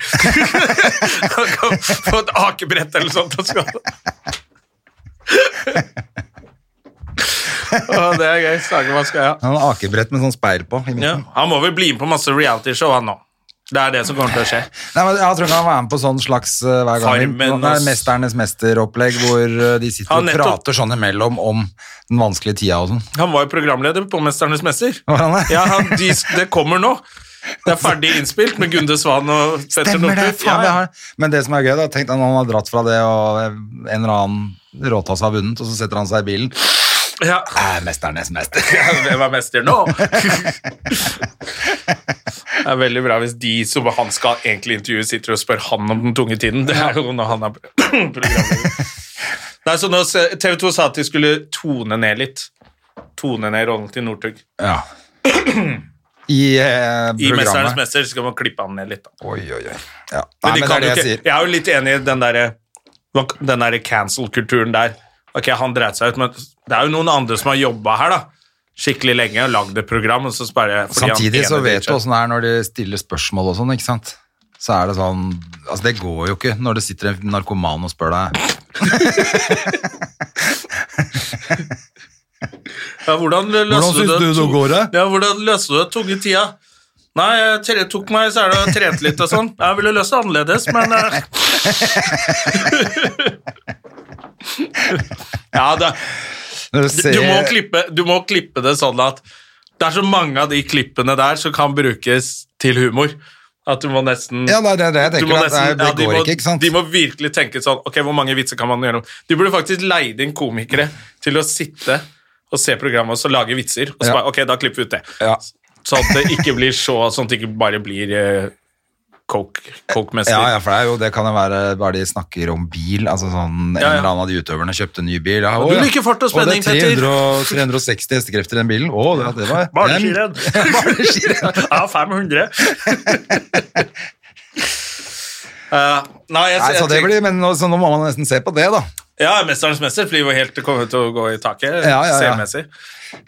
han kan få et akebrett eller sånt. Og skal. Å, det er gøy. Snakke hva skal jeg ha. Han har akebrett med sånn speil på. I midten. Ja, han må vel bli med på masse realityshow, han nå. Det er det som kommer til å skje. Nei, men jeg tror ikke han var med på sånn slags eh, hver gang. Farmen Nå- Nei, og- Mesternes mester-opplegg, hvor eh, de sitter Han og nettopp- prater sånn imellom om den vanskelige tida og sånn. Han var jo programleder på 'Mesternes mester'. Var han det? Ja, han, de, det kommer nå. Det er ferdig innspilt med Gunde Svan og Petter Stemmer det! Northug. Faen, jeg har... Men det som er gøy, da, tenk deg når han har dratt fra det, og eh, en eller annen råtass har vunnet, og så setter han seg i bilen. ja. Eh, mesternes mester. Ja, Hvem er mester nå? Det er veldig bra hvis de som han skal egentlig intervjue, sitter og spør han om den tunge tiden. Det er jo når han er programleder. Nei, så nå se- TV 2 sa at de skulle tone ned litt. Tone ned rollen til Northug. Ja. I eh, I 'Mesternes programmet. mester' skal man klippe han ned litt. Da. Oi, oi, oi. Ja. Nei, Men de men det kan er det jo jeg ikke, sier. jeg er jo litt enig i den derre den der cancel-kulturen der. Ok, han dreit seg ut, men det er jo noen andre som har jobba her, da. Skikkelig lenge og lagd et program, og så bare fordi han Samtidig så ene vet du driter seg ut. åssen det er når de stiller spørsmål og sånn, ikke sant. Så er det sånn Altså, det går jo ikke når det sitter en narkoman og spør deg Ja, hvordan løste Hvordan syns den du det to- går, da? Ja, hvordan løste du den tunge tida? Nei, jeg tre- tok meg så er det og trente litt og sånn. Jeg ville løst det annerledes, men eh. Ja, det, Når du du, må ser- klippe, du må klippe det sånn at det er så mange av de klippene der som kan brukes til humor. At du må nesten Ja, det er det jeg du tenker. må at det, er, nesten- det ja, de går må- ikke, ikke sant? De må virkelig tenke sånn Ok, hvor mange vitser kan man gjøre? De burde faktisk leid inn komikere til å sitte og se programmet og så lage vitser. Og så Ja. bare, ok, da klipper vi ut det. Ja. Sånn at det ikke blir så Sånn at det ikke bare blir eh, coke- coke-mester. Ja, ja, for det, er jo, det kan jo være bare de snakker om bil. altså sånn En Ja, ja. eller annen av de utøverne kjøpte ny bil. Ja, Du liker fart og spenning, Petter. Petter. det er 300 og 360 hestekrefter i den bilen. Å, det, det var Bare det er- skirenn. Bare skirenn. Ja, 500. Eh, nei, jeg, Nei, så jeg, det tenker- blir, men nå, så nå må man nesten se på det, da. Ja, Mesterens mester blir jo helt kommet til å gå i taket. Ja, ja, ja. Seriemessig.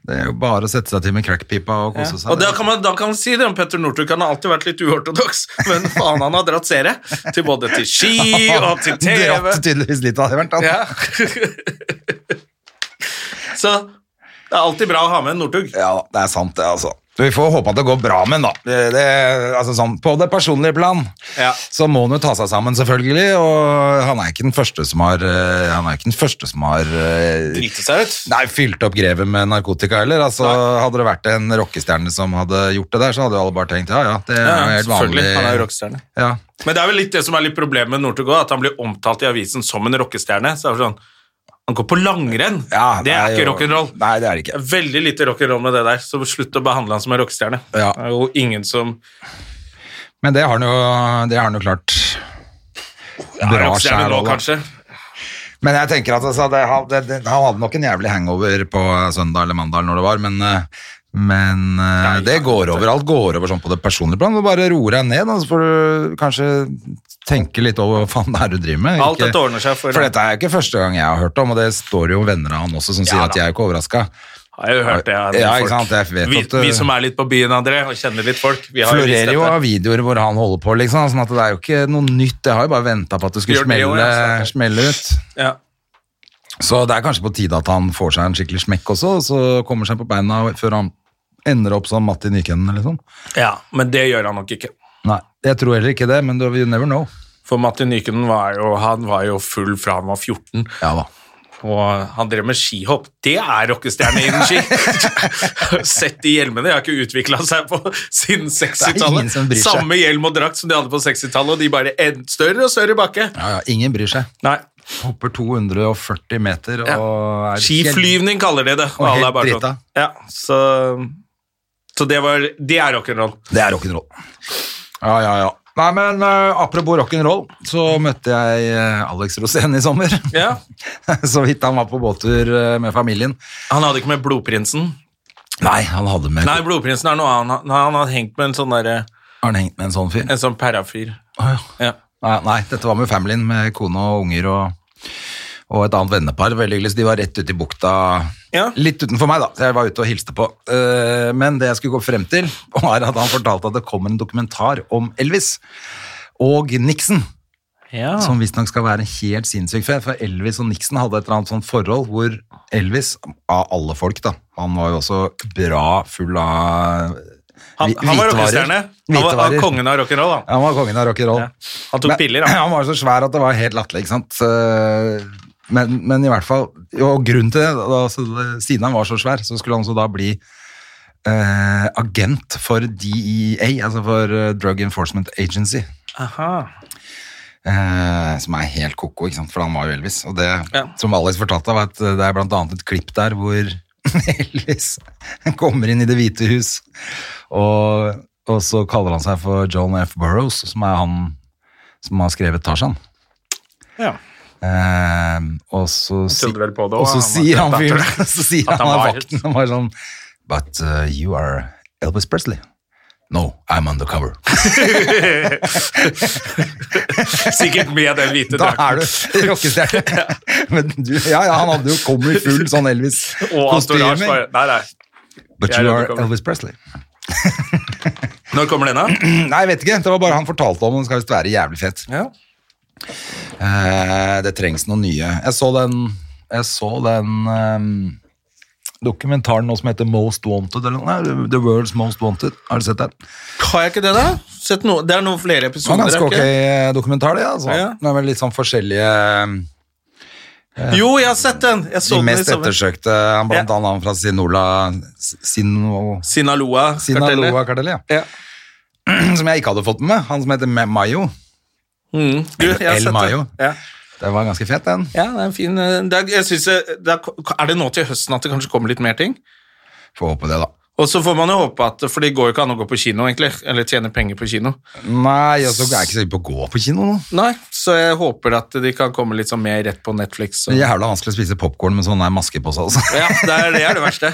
Det er jo bare å sette seg til med crackpipa og kose seg. Og da kan man, da kan man si det om Petter Northug. Han har alltid vært litt uortodoks, men faen, han har dratt seere. Til både til ski og til TV. Dratt tydeligvis litt av altså. hvert. Ja. Så det er alltid bra å ha med en Northug. Ja, det er sant det, altså. Vi får håpe at det går bra med den, da. Det, det, altså sånn, på det personlige plan Ja. så må han jo ta seg sammen, selvfølgelig. Og han er ikke den første som har eh, Han er ikke den første som har eh, Drite seg ut. Nei, fylt opp grevet med narkotika heller. Altså, hadde det vært en rockestjerne som hadde gjort det der, så hadde jo alle bare tenkt ja, ja, det er Ja, helt vanlig. selvfølgelig. Han er jo rockestjerne. Ja. Men det er vel litt det som er litt problemet med Northug òg, at han blir omtalt i avisen som en rockestjerne. Så det er det sånn Han går på langrenn! Ja, det er jo- ikke rock'n'roll. Nei, det er det Det ikke. er Veldig lite rock'n'roll med det der, så slutt å behandle han som en rockestjerne. Ja. Det er jo ingen som Men det har han jo, det har han jo klart. er rockestjerne skjær også, nå, da. kanskje. Men jeg tenker at altså, det, han- det, det, han hadde nok en jævlig hangover på eh, søndag eller mandag, eller når det var, men, eh, men eh, Nei, det ja, går det- over. Alt går over sånn på det personlige plan. Du bare roer deg ned, da, så får du kanskje tenke litt over hva faen det er du driver med. Alt dette ordner seg for- For dette er jo ikke første gang jeg har hørt om, og det står jo venner av han også som sier Ja, at da. jeg er jo ikke overraska. Har jeg jo hørt det av Ja, folk. ikke sant, jeg vet vi, at, uh, vi som er litt på byen, André, og kjenner litt folk vi har jo vist Florerer jo dette. av videoer hvor han holder på, liksom. Sånn at det er jo ikke noe nytt. Jeg har jo bare venta på at det skulle Gjør det jo, smelle, ja, sant. smelle ut. Ja. Så det er kanskje på tide at han får seg en skikkelig smekk også, og så kommer seg på beina før han ender opp som Matti Nykänen eller sånn. ja, men det gjør han nok ikke. Nei, jeg tror heller ikke det, men du you never know. For Matti Nykänen var, jo- han var jo full fra han var 14, Ja da. og han drev med skihopp. Det er rockestjerne innen ski! Sett de hjelmene, de har ikke utvikla seg på siden ingen som 60-tallet. bryr seg. Samme hjelm og drakt som de hadde på 60-tallet, og de bare en, større og større bakke. Ja, ja, ingen bryr seg. Nei, Hopper 240 meter og Ja. er skiflyvning kaller de det. Og, Og alle helt er bare sånn. drita. Ja, så, så det var Det er rock'n'roll. Det er rock'n'roll. Ja, ja, ja. Nei, men eh, apropos rock'n'roll, så møtte jeg eh, Alex Rosén i sommer. Ja. så vidt han var på båttur eh, med familien. Han hadde ikke med Blodprinsen. Nei, han hadde med Nei, Blodprinsen er noe annet. Han, han hadde hengt med en sånn derre Har han hengt med en sånn fyr? En sånn parafyr. Å, ja. Ja. Nei, nei, dette var med familien, med kone og unger og, og et annet vennepar. Veldig hyggelig, så de var rett ute i bukta. Ja. Litt utenfor meg, da, så jeg var ute og hilste på. Eh, Men det jeg skulle gå frem til, var at han fortalte at det kommer en dokumentar om Elvis og Nixon. Ja. Som visstnok skal være helt sinnssyk fe- for Elvis og Nixon hadde et eller annet sånt forhold hvor Elvis, av alle folk da, han var jo også bra full av Han, hvi- han var hvitevarer. rockestjerne. Han var, han Hvitevarer. var kongen av rock'n'roll, han. Han var kongen av rock'n'roll. Ja. Han tok Men- piller, han. han. var så svær at det var helt latterlig, ikke sant. Eh, Men, men i hvert fall Og grunnen til det, da, så, siden han var så svær, så skulle han så da bli eh, agent for DEA, altså for eh, Drug Enforcement Agency. Aha. Eh, som er helt koko, ikke sant? for han var jo Elvis. Og det Ja. som Alex fortalte, var at eh, det er blant annet et klipp der hvor Elvis kommer inn i Det hvite hus, og, og så kaller han seg for John F. Burroughs, som er han som har skrevet Tarzan. Ja. Eh, og så, si, trodde vel på det og også, så han sier var- han at fyren han- Så sier at han, han han var- vakten som var sånn But uh, you are Elvis Presley. No, I'm undercover. Sikkert med den hvite Da er drakten. du rockestjerne. Men du, ja, ja, han hadde jo kommet i full sånn Og Astorage Elvis-kostyme. bare Nei, nei. But Jeg er you are undercover. Elvis Presley. Når kommer den, da? Nei, jeg vet ikke. Det var bare han fortalte om den. Skal visst være jævlig fet. Ja. Eh, det trengs noen nye. Jeg så den Jeg så den dokumentaren nå som heter Most Wanted, eller noe? The World's Most Wanted. Har du sett den? Har jeg ikke det, da? Sett noe- det er noen flere Det var episoder. ganske er Ah, det ok ikke? dokumentar, det. altså. Ja. Det er vel litt sånn forskjellige Jo, jeg har sett den. Jeg De så den i mest sommer. ettersøkte, eh, han blant Ja. annet han fra Sinola Sino, Sinaloa-kartellet. Sinaloa-kartellet, Ja. ja. som jeg ikke hadde fått med meg. Han som heter Ma- Mayo. Mm. Du, jeg har El sett den. Mayo. Ja. Den var ganske fet, den. Ja, det er en fin eh, det er, jeg synes, det- det er, er det nå til høsten at det kanskje kommer litt mer ting? Får håpe det, da. Og så får man jo håpe at For det går jo ikke an å gå på kino, egentlig. Eller tjene penger på kino. Nei, altså, jeg er ikke sikker på å gå på kino nå. Nei, så jeg håper at de kan komme litt sånn mer rett på Netflix. Og, Det er ja. jævla vanskelig å spise popkorn med sånn der maske på seg. altså. det er det, er det verste.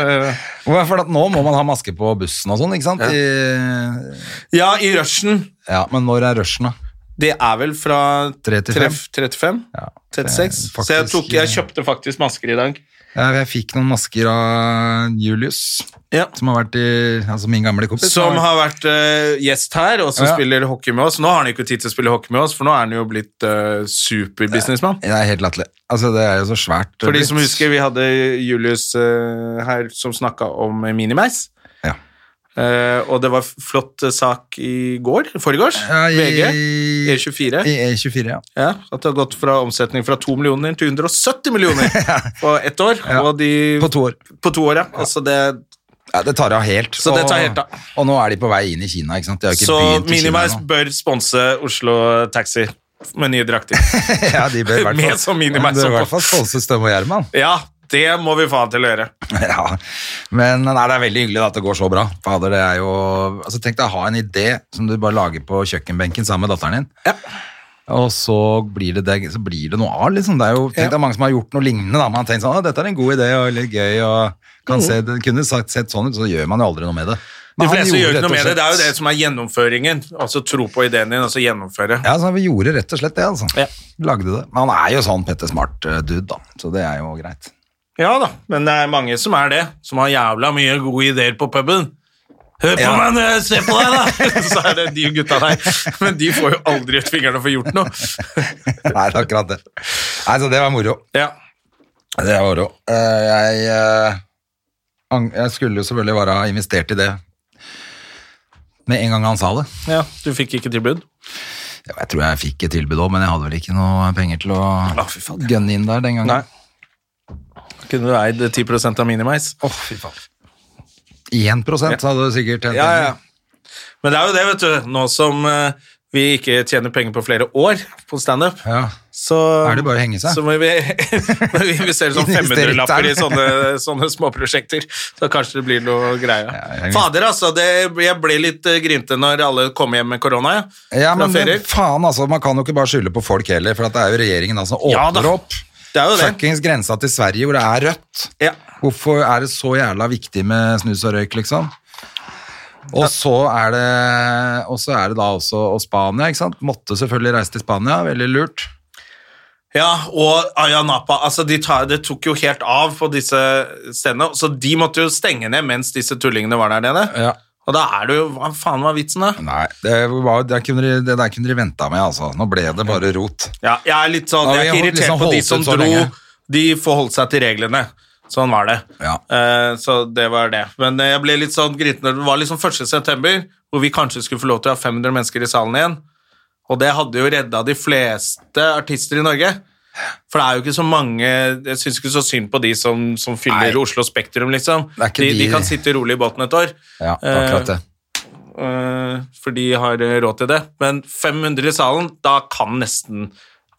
Eh, For at nå må man ha maske på bussen og sånn, ikke sant? Ja. I, ja, i rushen. ja, Men når er rushen, da? Det er vel fra Tre til tre- fem. 35? Ja, det er 36? faktisk- eh, så jeg, tok, jeg kjøpte faktisk masker i dag. Ja, Jeg fikk noen masker av Julius, Ja. som har vært i Altså min gamle kompis. Som har vært eh, gjest her, og som Ja. spiller hockey med oss. Nå har han ikke tid til å spille hockey med oss, for nå er han jo blitt eh, superbusinessmann. Det er helt latterlig. Altså, det er jo så svært. eh, For de som husker, vi hadde Julius eh, her som snakka om minimeis. Ja. Eh, og det var f- flott eh, sak i går, forgårs, Ja, i- VG, E24, I E24, ja. ja, at det har gått fra omsetning fra 2 millioner til 170 millioner på ett år. Ja. Og de, På to år. på to år, ja. Altså det, Ja, det tar av helt. Så det tar helt av. Og, og nå er de på vei inn i Kina, ikke sant? De har ikke så begynt i Kina Minimeis nå. bør sponse Oslo Taxi med nye drakter. ja, de bør i hvert fall- Med som Minimeis De bør i oppå. hvert fall sponse Støm og Gjerman. ja, det må vi faen til å gjøre. Ja. Men nei, det er veldig hyggelig da, at det går så bra. Fader, det er jo... Altså, tenk deg å ha en idé som du bare lager på kjøkkenbenken sammen med datteren din. Ja. Og så blir det, det, så blir det noe av, liksom. Det er jo, tenk deg mange som har gjort noe lignende, da. Man har tenkt sånn, «Å, dette er en god idé, og litt gøy, og kan se, det kunne sagt, sett sånn ut, så gjør man jo aldri noe med det. Mhm. De Men han fleste gjorde gjør ikke rett noe og med det. Det er jo slett- det som er gjennomføringen. Altså tro på ideen din, og så gjennomføre. Ja, så vi gjorde rett og slett det, altså. Ja. Lagde det. Men han er jo sånn Petter Smart-dude, da, så det er jo greit. Ja da, men det er mange som er det. Som har jævla mye gode ideer på puben. Hør på Ja. meg når jeg ser på deg, da! Så er det de gutta der. Men de får jo aldri ut fingrene for gjort noe. Nei, det er akkurat det. Nei, så det var moro. Ja. Det var moro. Eh, Jeg, eh, ang- jeg skulle jo selvfølgelig bare ha investert i det med en gang han sa det. ja, du fikk ikke tilbud? Ja, Jeg tror jeg fikk et tilbud òg, men jeg hadde vel ikke noe penger til å Å, Ah, fy faen. gønne inn der den gangen. Nei. Kunne du eid 10 av Minimeis? Åh, fy faen. 1 så hadde du sikkert tjent Ja, penger. ja. Men det er jo det, vet du. Nå som eh, vi ikke tjener penger på flere år på standup, Ja. så Er det bare å henge seg? Så må vi, må vi investere sånn 500-lapper i sånne, sånne småprosjekter. Så kanskje det blir noe greie. jeg- Fader, altså. Det, jeg ble litt eh, grinte når alle kom hjem med korona. Ja, Ja, fra men ferier. faen altså, man kan jo ikke bare skylde på folk heller, for at det er jo regjeringen da, som Ja da. åpner opp. Det er jo det. Fuckings grensa til Sverige hvor det er rødt. Ja. Hvorfor er det så jævla viktig med snus og røyk, liksom? Og så er det, og så er det da også og Spania, ikke sant? Måtte selvfølgelig reise til Spania, veldig lurt. Ja, og Ayanapa. Altså, de tar, det tok jo helt av på disse stedene. Så de måtte jo stenge ned mens disse tullingene var der nede. Ja. Og da er det jo Hva faen var vitsen, da? Nei, det, var, det, kunne de, det der kunne de venta med, altså. Nå ble det bare rot. Ja, jeg er litt sånn, Da har jeg er vi holdt- ikke irritert liksom på de holdt som ut så dro. lenge. De forholdt seg til reglene. Sånn var det. Ja. Eh, så det var det. Men eh, jeg ble litt sånn grinten. Det var liksom 1. september, hvor vi kanskje skulle få lov til å ha 500 mennesker i salen igjen. Og det hadde jo redda de fleste artister i Norge. For det er jo ikke så mange Jeg syns ikke så synd på de som, som fyller Nei. Oslo Spektrum, liksom. Det er ikke De, de de- kan sitte rolig i båten et år. Ja, akkurat det. Eh, for de har eh, råd til det. Men 500 i salen, da kan nesten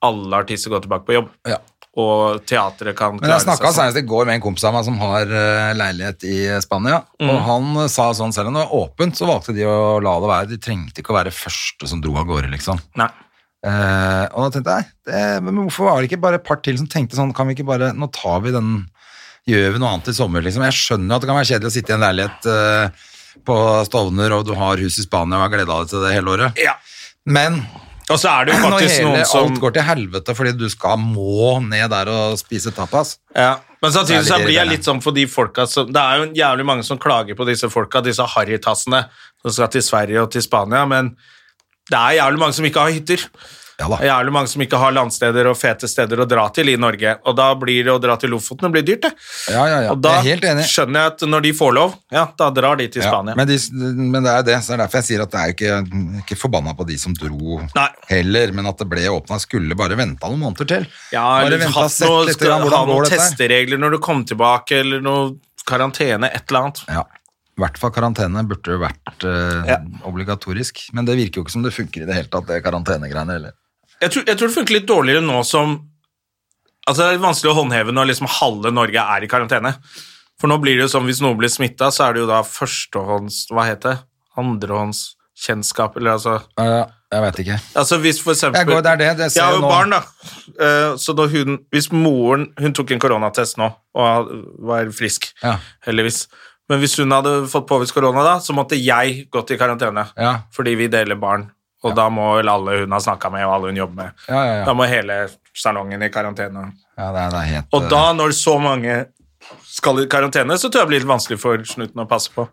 alle artister gå tilbake på jobb. Ja. Og teatret kan Men jeg snakka sånn. senest i går med en kompis av meg som har eh, leilighet i Spania. Og han eh, sa sånn, selv om det var åpent, så valgte de å la det være. De trengte ikke å være første som dro av gårde, liksom. Nei. Eh, og da tenkte jeg, det, men hvorfor var det ikke bare et par til som tenkte sånn, kan vi ikke bare, nå tar vi den, gjør vi noe annet i sommer, liksom. Jeg skjønner jo at det kan være kjedelig å sitte i en leilighet eh, på Stovner, og du har hus i Spania og har gleda deg til det hele året. Ja. Men Og så er det jo når faktisk hele noen som alt går til helvete fordi du skal må ned der og spise tapas ja. Men samtidig Så så er det blir jeg irriterende. litt sånn for de folka som Det er jo jævlig mange som klager på disse folka, disse harrytassene som skal til Sverige og til Spania, men det er jævlig mange som ikke har hytter. Ja da. Det er jo mange som ikke har landsteder og fete steder å dra til i Norge, og da blir det å dra til Lofoten det blir dyrt, det. Ja, ja, ja. Og da Jeg er helt enig. skjønner jeg at når de får lov, ja, da drar de til Ja, Spania. men, de, men det er det, så det er derfor jeg sier at det er jo ikke, ikke forbanna på de som dro Nei. heller, men at det ble åpna. Skulle bare venta noen måneder til. ja, bare eller ventet, hatt sett noe, litt skal, grann ha hvordan noen går dette her. testeregler når du kom tilbake, eller noe karantene, et eller annet. Ja. I hvert fall karantene burde jo vært eh, Ja. obligatorisk. Men det virker jo ikke som det funker i det hele tatt, det karantenegreiene. Eller? Jeg tror, jeg tror det funker litt dårligere nå som Altså, det er vanskelig å håndheve når liksom halve Norge er i karantene. For nå blir det jo sånn, hvis noen blir smitta, så er det jo da førstehånds Hva heter det? Andrehåndskjennskap, eller altså Eh, jeg vet ikke. Altså hvis for eksempel Jeg går- det er det, det ser Jeg har jo jeg nå. barn, da. Eh, Så da hun Hvis moren Hun tok en koronatest nå og var frisk, Ja. heldigvis. Men hvis hun hadde fått påvist korona da, så måtte jeg gått i karantene. Ja. Fordi vi deler barn. Og da må vel alle hun har snakka med, og alle hun jobber med Ja, ja, ja. Da må hele salongen i karantene. Ja, det er, det er helt, eh, Og da, når så mange skal i karantene, så tror jeg det blir litt vanskelig for snuten å passe på.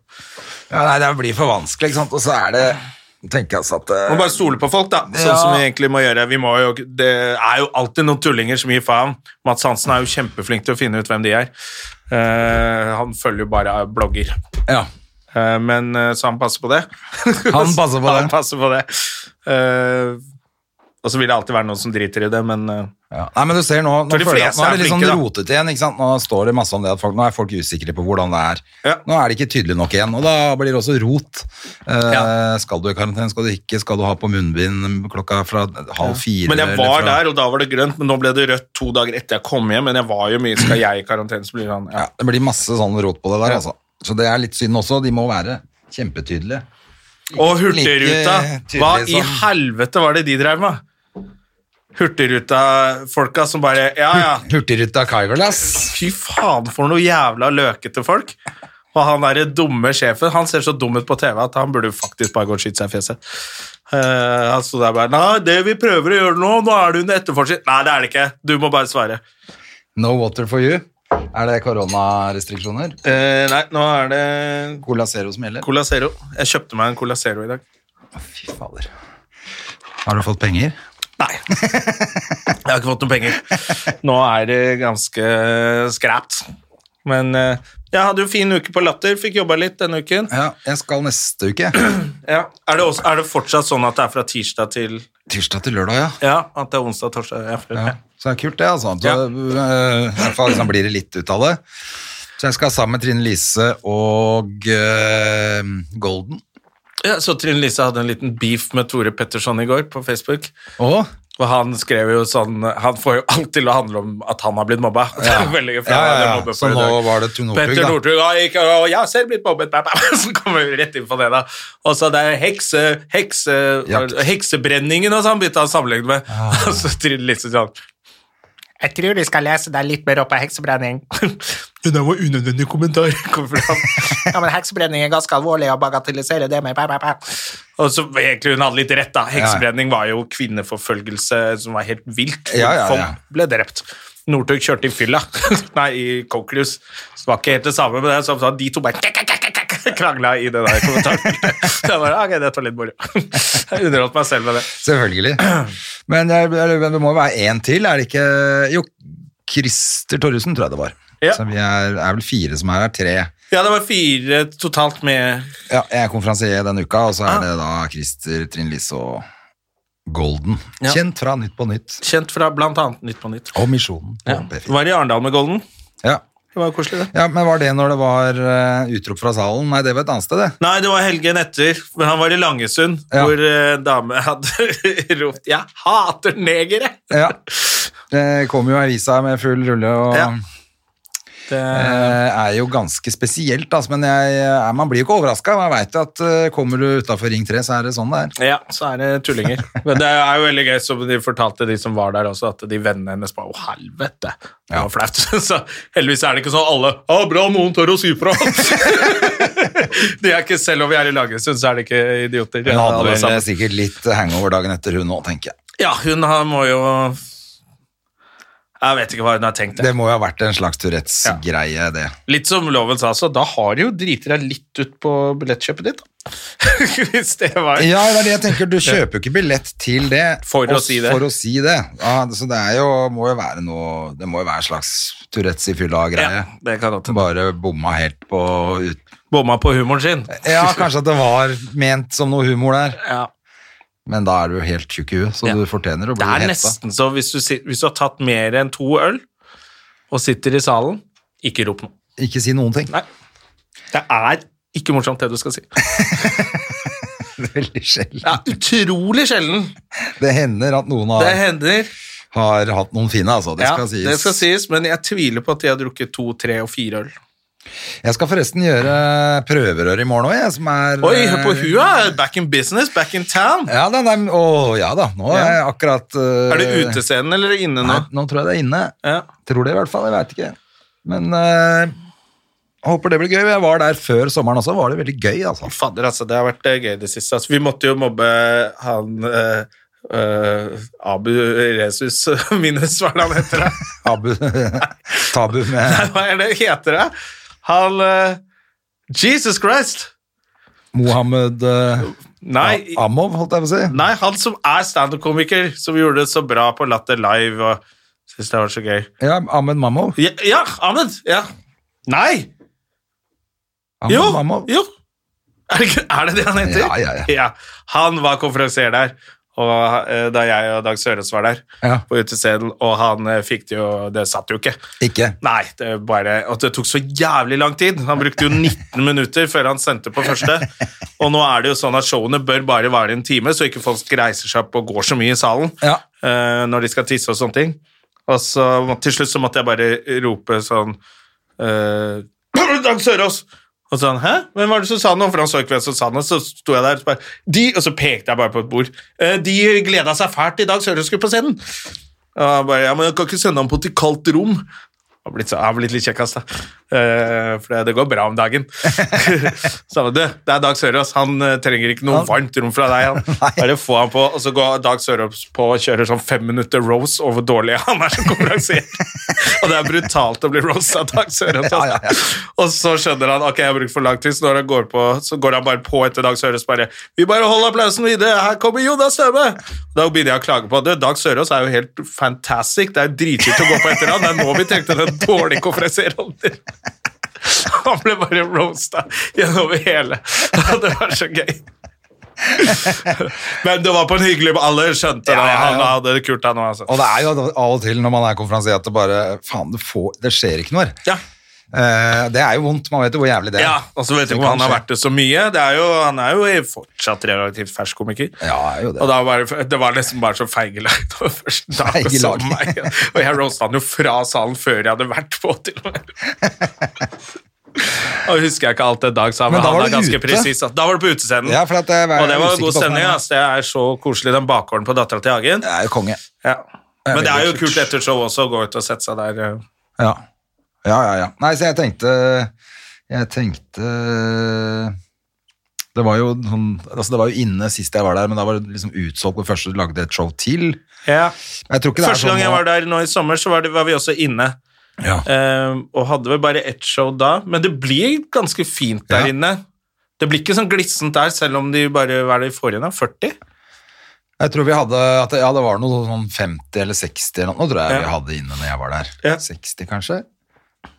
ja, nei, det blir for vanskelig, ikke sant. Og så er det tenker jeg altså at eh, Må bare stole på folk, da. Sånn Ja. som vi egentlig må gjøre. Vi må jo, det er jo alltid noen tullinger som gir faen. Mats Hansen er jo kjempeflink til å finne ut hvem de er. Eh, han følger jo bare blogger. ja. Eh, men, eh, så han passer på det. Han passer på han det. passer på det. Eh, og så vil det alltid være noen som driter i det, men eh, Ja. Nei, men du ser nå, nå, Tror de føler jeg, fleste nå er er det litt sånn flinke, da. rotet igjen, ikke sant? Nå står det masse om det at folk, nå er folk usikre på hvordan det er. Ja. Nå er det ikke tydelig nok igjen, og da blir det også rot. Eh, Ja. Skal du i karantene, skal du ikke, skal du ha på munnbind klokka fra halv fire? Men jeg eller var fra- der, og da var det grønt, men nå ble det rødt to dager etter jeg kom hjem. Men jeg var jo mye Skal jeg i karantene, så blir han ja. Ja, det blir masse sånn rot på det der, Ja. altså. Så det er litt synd også, de må være kjempetydelige. Og like Hurtigruta! tydelig Hva i som- helvete var det de drev med? Hurtigruta-folka som bare Ja, ja. Hurtigruta Kyverlass. Fy faen, for noe jævla løkete folk. Og han derre dumme sjefen, han ser så dum ut på TV at han burde faktisk bare gå og skyte seg i fjeset. Eh, han sto der bare Nei, det vi prøver å gjøre nå, nå er det under etterforskning. Nei, det er det ikke. Du må bare svare. No water for you. Er det koronarestriksjoner? Eh, nei, nå er det Cola Zero som gjelder? Cola Zero. Jeg kjøpte meg en Cola Zero i dag. Fy fader. Har du fått penger? Nei. Jeg har ikke fått noen penger. Nå er det ganske skræpt. Men eh, jeg hadde jo fin uke på Latter, fikk jobba litt denne uken. Ja, jeg skal neste uke. Ja. Er, det også, er det fortsatt sånn at det er fra tirsdag til Tirsdag til lørdag, ja. Ja, at det er onsdag, torsdag ja, for- Ja, Så det er kult det, altså. Så, Ja. øh, I hvert fall liksom, blir det litt ut av det. Så jeg skal sammen med Trine Lise og øh, Golden. ja, Så Trine Lise hadde en liten beef med Tore Petterson i går på Facebook. Og? Og han skrev jo sånn Han får jo alt til å handle om at han har blitt mobba. Det er jo veldig gøy, for Ja, han ja, er ja. mobbet Så for i dag. nå var det Tor Northug, Petter da. Northug, ja, ikke- og jeg har selv blitt mobbet. bæ, bæ, bæ. Så kommer vi rett inn på det, da. Og så det er hekse, hekse, Jakt. heksebrenningen og sånn begynte han å sammenligne med. Og så Trine Lise sånn Jeg tror du skal lese deg litt mer opp av heksebrenning. Det der var unødvendig kommentar. Kom fram. ja, men heksebrenning er ganske alvorlig, og bagatelliserer det med bæ, bæ, bæ. Og så egentlig hun hadde litt rett, da. Heksebrenning var jo kvinneforfølgelse som var helt vilt. Ja, ja, Folk ja. ble drept. Northug kjørte i fylla, nei, i Cochleus. Så det var ikke helt det samme, men det er sånn at de to bare kak, kak, kak, kak, kak, krangla i det der kommentarfeltet. Så jeg bare, ok, dette var litt moro. Jeg underholdt meg selv med det. Selvfølgelig. Men jeg, jeg, men det må jo være én til, er det ikke? Jo, Christer Torjussen, tror jeg det var. Ja. Så vi er, er vel fire som er her, tre. Ja, det var fire totalt med Ja, jeg er konferansier denne uka, og så Ah. er det da Christer, Trine Lise og Golden. Ja. Kjent fra Nytt på Nytt kjent fra blant annet Nytt på Nytt. og Misjonen på Ja. P4. Var i Arendal med Golden. Ja. Det var jo koselig, det. ja, men var det når det var eh, utrop fra salen? Nei, det var et annet sted, det. Nei, det var helgen etter, men han var i Langesund, Ja. hvor eh, dame hadde ropt 'Jeg hater negere'! Ja. Det kom jo avisa med full rulle og Ja. Det, eh, er jo ganske spesielt, altså, men jeg, eh, man blir jo ikke overraska. Man veit jo at eh, kommer du utafor Ring 3, så er det sånn det er. Ja, så er det tullinger. Men det er jo veldig gøy, som de fortalte de som var der også, at de vennene hennes bare Å, helvete! Det var flaut. Så heldigvis er det ikke sånn alle Å, bra noen tør å si fra! de er ikke, selv om vi er i Langesund, så er de ikke idioter. Hun hadde Alle vel eh, sammen. sikkert litt hangover dagen etter, hun òg, tenker jeg. Ja, hun har, må jo Jeg vet ikke hva hun har tenkt. Det må jo ha vært en slags Tourettes-greie, det. Litt som loven sa, så da har de jo driti deg litt ut på billettkjøpet ditt, da. Hvis det var Ja, det er det jeg tenker. Du kjøper jo ikke billett til det For å og- si det. For å si det. Ja, så det er jo, må jo være noe Det må jo være en slags Tourettes i fylla-greie. Ja, det kan godt hende. Bare bomma helt på ut... Bomma på humoren sin. Ja, kanskje at det var ment som noe humor der, Ja. men da er du jo helt tjukk i huet, så Ja. du fortjener å bli Det er hetta. nesten så hvis du, sit- hvis du har tatt mer enn to øl og sitter i salen, ikke rop noe. Ikke si noen ting. Nei. Det er ikke morsomt, det du skal si. Det er Veldig sjelden. Det er utrolig sjelden Det hender at noen det har, hender. har hatt noen fine, altså. Det Ja, skal sies. det skal sies, men jeg tviler på at de har drukket to, tre og fire øl. Jeg skal forresten gjøre prøverør i morgen òg, jeg, som er eh, Oi, hør på hua! Back in business, back in town! Ja da, nei, men- å, ja da. Nå er jeg akkurat eh, Er det utescenen eller inne Nei, nå? nå tror jeg det er inne. Ja. Tror det i hvert fall, jeg veit ikke. Men eh, håper det blir gøy. Jeg var der før sommeren også, var det veldig gøy, altså. Fadder, altså, det har vært eh, gøy det siste. Altså, vi måtte jo mobbe han eh, eh, Abu Resus minus, hva er det han heter? da? Tabu, tabu med Hva er det heter det? Han eh, Jesus Christ! Mohammed eh, Nei, A- Amov, holdt jeg på å si. nei han som er standup-komiker, som gjorde det så bra på Latter Live og syns det var så gøy. Ja, Ahmed Mamov. Ja, ja Ahmed! Ja. Nei! Ahmed Jo! Mamov. jo. Er, det, ikke- er det det han heter? Ja, ja, ja. Han var konferansier der, og, eh, da jeg og Dag Sørens var der Ja. på utescenen, og han eh, fikk det jo Det satt jo ikke. Ikke. Nei, det bare Og det tok så jævlig lang tid. Han brukte jo 19 minutter før han sendte på første. Og nå er det jo sånn at showene bør bare vare en time, så ikke folk reiser seg opp og går så mye i salen Ja. eh, når de skal tisse og sånne ting. Og så må- til slutt så måtte jeg bare rope sånn eh, Dag Sørås! Og sånn, hæ? Hvem var det som sa noe? For han så ikke hvem som sa noe. Så sto jeg der og så bare, de, og så pekte jeg bare på et bord. «Eh, De gleda seg fælt i Dag Sørås skulle på scenen. Og han bare, ja, men jeg kan ikke sende ham på til kaldt rom. Jeg har blitt, så, jeg har blitt litt kjekkass, da. Eh, for det, det går bra om dagen. så han ba, du, det er Dag Sørås. Han eh, trenger ikke noe varmt rom fra deg. Han. Bare få han på, og så går Dag Sørås på og kjører sånn fem minutter rose over hvor dårlig han er som konferansier. og det er brutalt å bli roast av Dag Sørås. altså. Ja, ja, ja. Og så skjønner han ok, jeg har brukt for lang tid, så når han går på, så går han bare på etter Dag Sørås bare Vi bare holder applausen videre, her kommer Jonas Støme! Da begynner jeg å klage på det. Dag Sørås er jo helt fantastic, det er jo dritkult å gå på etter han. Det er nå vi trengte den dårlige konferansieren. Han ble bare roasta gjennom hele. Det var så gøy. Men det var på en hyggelig Alle skjønte det. Ja, ja, ja. Han hadde det kult, han òg. Altså. Og det er jo av og til når man er konferansier at det bare Faen, det, får, det skjer ikke noe her. Ja. Eh, det er jo vondt. Man vet jo hvor jævlig det er. Ja, og så vet du Det hvor han kan har skje. vært det så mye. Det er jo, han er jo fortsatt relativt fersk komiker. Ja, er jo det. Og da var det, det var nesten bare så feigelag. Det var første dag og så Feigelag. meg. Og jeg roasta han jo fra salen før jeg hadde vært på, til og med. Og husker jeg ikke alt det Dag sa, men, Men da han var er du ganske ute. presis. at- Da var du på utescenen. Ja, for at jeg var og det var usikker god på stemning. hvordan- ass. Det er så koselig, den bakgården på Dattera til Hagen. Det er jo konge. Ja. Men det veldig er jo kult. kult etter show også å gå ut og sette seg der. eh. Ja. ja, ja, ja. Nei, så jeg tenkte Jeg tenkte Det var jo sånn Altså, det var jo inne sist jeg var der, men da var det liksom utsolgt på første du lagde et show til. Jeg tror ikke det er Første sånn gang jeg nå. var der nå i sommer, så var, det, var vi også inne. Ja. Eh, og hadde vel bare ett show da, men det blir ganske fint der Ja. inne. Det blir ikke sånn glissent der, selv om de bare hva er det de får igjen av 40. Jeg tror vi hadde at det, Ja, det var noe sånn 50 eller 60 eller noe, tror jeg Ja. vi hadde inne når jeg var der. Ja. 60, kanskje?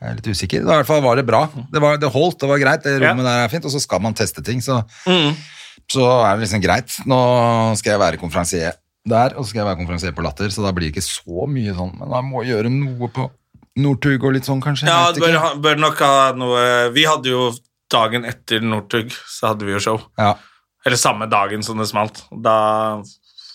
Jeg er litt usikker. I hvert fall var det bra. Det, var, det holdt, det var greit. Det Ja. Mm. rommet der er fint, og så skal man teste ting, så, så er det liksom greit. Nå skal jeg være konferansier der, og så skal jeg være konferansier på Latter, så da blir det ikke så mye sånn, men da må jeg gjøre noe på Northug og litt sånn, kanskje? Ja, Jeg det vet bør, ikke. ha- bør nok ha noe Vi hadde jo dagen etter Northug, så hadde vi jo show. ja. Eller samme dagen som det smalt. Da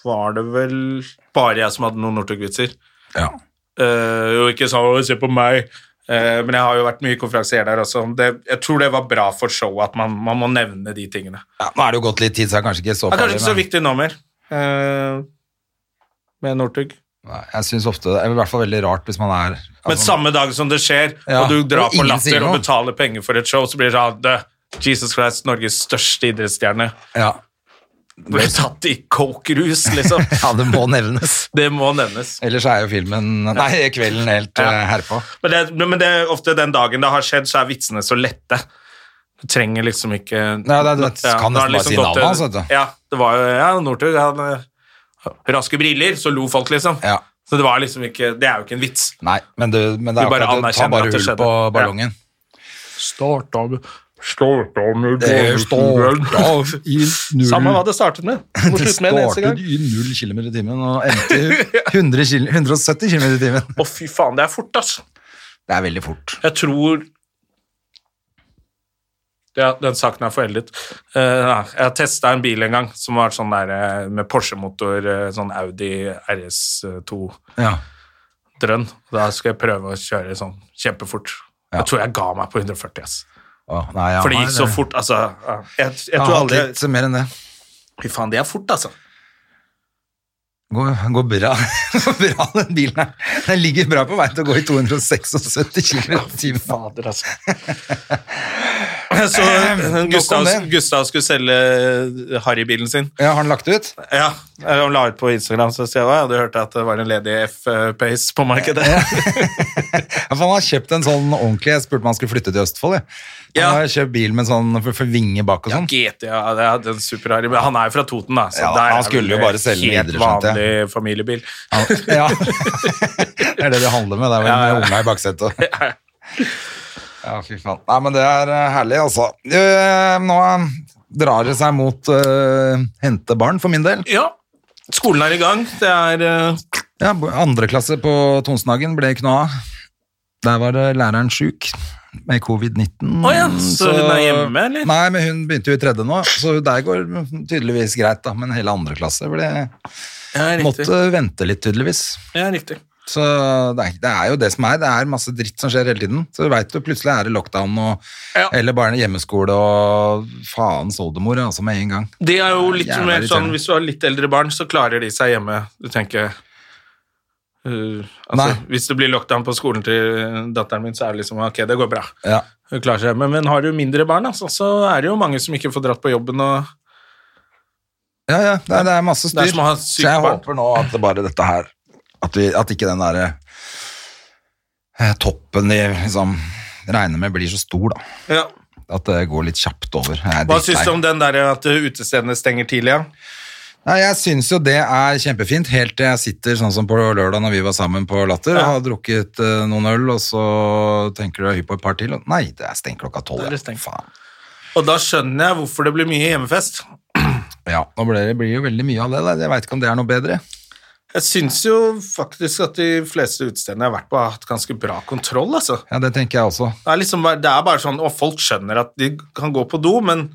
var det vel bare jeg som hadde noen Northug-vitser. ja. Eh, og ikke sånn «Å, 'se på meg', Eh, men jeg har jo vært mye konferansier der også. Det, jeg tror det var bra for showet at man, man må nevne de tingene. ja. Nå er det jo gått litt tid, så jeg er kanskje ikke så Det er kanskje farlig. ikke så men- viktig nå mer, eh, med Northug. Nei, jeg synes ofte, det er i hvert fall veldig rart hvis man er... Men altså- samme dag som det skjer, Ja, og du drar og på ingen sier latter noe. og betaler penger for et show, så blir det sånn «Dø, Jesus Christ, Norges største idrettsstjerne. Ja. Ble tatt i coke-rus, liksom. Ja, det må nevnes. Det må nevnes. Ellers er jo filmen Nei, kvelden helt eh, herpå. Men det, men det er ofte den dagen det har skjedd, så er vitsene så lette. Du trenger liksom ikke Ja, det- det Ja, kan da er nesten bare si navnet gått- hans, vet du. Ja, det var jo ja, Northug. Han eh, raske briller, så lo folk, liksom. Ja. Så det var liksom ikke Det er jo ikke en vits. Nei, men, du, men det Du er bare akkurat det. Ta anerkjenner bare at det hull skjedde. på Ja. ballongen. Starta med Starta med i Samme hva det startet med. Du må Det slutte med det neste startet gang. i 0 km i timen og endte i 100 kil- 170 km i timen. Å, fy faen, det er fort, ass. Det er veldig fort. Jeg tror ja, den saken er foreldet. Eh, ja, jeg har testa en bil en gang som var sånn der eh, med Porsche-motor, eh, sånn Audi RS2-drønn. Ja. Da skal jeg prøve å kjøre sånn kjempefort. Ja. Jeg tror jeg ga meg på 140, ass. Å, nei, ja, For det nei, gikk så fort, altså. ja. Jeg, jeg Jeg tror har aldri litt mer enn det. Fy faen, det er fort, altså. Går, går bra. bra, den bilen her. Den ligger bra på vei til å gå i 276 km i timen. Fader, altså. Så eh, Ehm, om Gustav, det. Gustav skulle selge Harry-bilen sin. Ja, har den lagt ut? Ja, han la ut på Instagram, så sier jeg at du hørte at det var en ledig F-pace på markedet. Ja, for han har kjøpt en sånn ordentlig Jeg spurte om han skulle flytte til Østfold. Jeg. Han Ja. har kjøpt bil med sånn for, for vinge bak og Ja, sånn. GT, ja, det er den superharry, men han er jo fra Toten, da. Så Ja, der han er skulle vel jo bare selge helt videre, skjønte jeg. vanlig familiebil. Ja. det er det det handler med. Det er vel Ja, ja. med unga i baksetet. Ja, fy faen. Nei, men det er eh, herlig, altså. Eh, Nå eh, drar det seg mot uh, hente barn, for min del. Ja, skolen er i gang. Det er eh, Ja, bo- andre klasse på Tonsenhagen ble ikke noe av. Der var eh, læreren sjuk med covid-19. Å ja, så hun er hjemme, eller? Nei, men hun begynte jo i tredje nå, så der går tydeligvis greit, da. Men hele andre klasse ble, ja, riktig. måtte vente litt, tydeligvis. Ja, riktig. Så det er, det er jo det som er. Det er masse dritt som skjer hele tiden. Så du veit jo plutselig er det lockdown og, Ja. eller bare en hjemmeskole og faens oldemor altså med en gang. Det er jo litt Jævla mer sånn, irriterende. Hvis du har litt eldre barn, så klarer de seg hjemme. Du tenker eh, altså, Nei. Hvis det blir lockdown på skolen til datteren min, så er det liksom ok, det går bra. Ja. Hun klarer seg hjemme. Men har du mindre barn, altså, så er det jo mange som ikke får dratt på jobben. og... Ja, ja, det er, det er masse styr. Det er som å ha et så sykt jeg barn. håper nå at det bare dette her At, vi, at ikke den derre eh, toppen de liksom regner med blir så stor, da. Ja. At det går litt kjapt over. Jeg er Hva drittlei. syns du om den der at uh, utestedene stenger tidlig? Ja? Nei, jeg syns jo det er kjempefint, helt til jeg sitter sånn som på lørdag når vi var sammen på Latter, og har drukket eh, noen øl, og så tenker du er hypp på et par til, og nei, det er stengt klokka tolv. Da er ja. det stengt. Faen. Og da skjønner jeg hvorfor det blir mye hjemmefest. Ja, nå blir det blir jo veldig mye av det, da. jeg veit ikke om det er noe bedre. Jeg syns jo faktisk at de fleste utestedene jeg har vært på, har hatt ganske bra kontroll. altså. Ja, det tenker jeg også. Det er liksom bare, det er bare sånn, og folk skjønner at de kan gå på do, men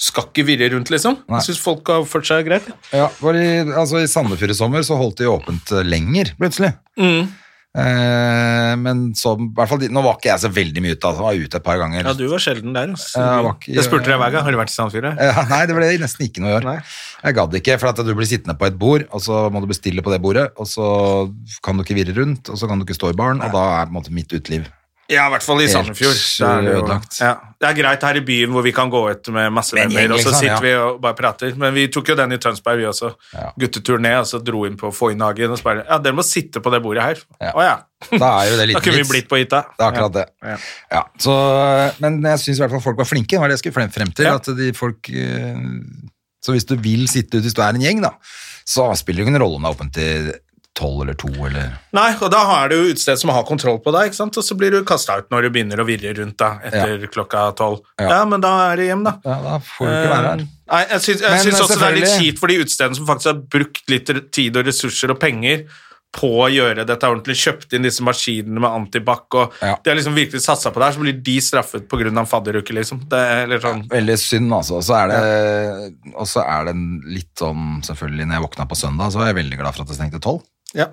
skal ikke virre rundt, liksom. Nei. Jeg syns folk har oppført seg greit. ja. Ja, for i, altså i Sandefjord i sommer så holdt de åpent eh, lenger, plutselig. Mm. Eh, men så, i hvert fall, de, nå var ikke jeg så veldig mye ute, altså. Jeg var ute et par ganger. Ja, du var sjelden der. Altså. Ja, jeg var ikke- jeg spurte deg hver gang har du vært i Sandfjord. Ja? Ja, nei, det ble nesten ikke noe i år. Jeg gadd ikke, for at du blir sittende på et bord, og så må du bestille på det bordet, og så kan du ikke virre rundt, og så kan du ikke stå i baren, og da er på en måte mitt uteliv. Ja, i hvert fall i Helt Sandefjord. Da er det, jo, ødelagt. ja. det er greit her i byen hvor vi kan gå ut med masse Med en venner, gjeng, og så liksom, ja. sitter vi og bare prater. Men vi tok jo den i Tønsberg, vi også. Ja. Guttetur ned, og så dro inn på Foynhagen og så bare Ja, dere må sitte på det bordet her. Ja. Å ja. Da er jo det Da liten kunne vi vits. blitt på hytta. Det er akkurat det. Ja. Ja, så, men jeg syns i hvert fall folk var flinke, det var det jeg skulle frem, frem til. Ja. At de folk eh, Så hvis du vil sitte ute, hvis du er en gjeng, da, så spiller det ingen rolle om det er åpent til tolv eller to eller Nei, og da er det jo utested som har kontroll på deg, ikke sant? og så blir du kasta ut når du begynner å virre rundt da, etter klokka tolv. Ja. men da er det hjem, da. Eh, Ja, da får du ikke være her. Nei, jeg syns, jeg Men, syns også det er litt selvfølgelig- kjipt for de utestedene som faktisk har brukt litt tid og ressurser og penger på å gjøre dette ordentlig, kjøpt inn disse maskinene med antibac og Ja. De har liksom virkelig satsa på det her, så blir de straffet pga. en fadderuke, liksom. Det er, eller sånn. Veldig synd, altså. Og så er det, og så er det en litt sånn Selvfølgelig, når jeg våkna på søndag, så var jeg veldig glad for at det stengte tolv. Ja.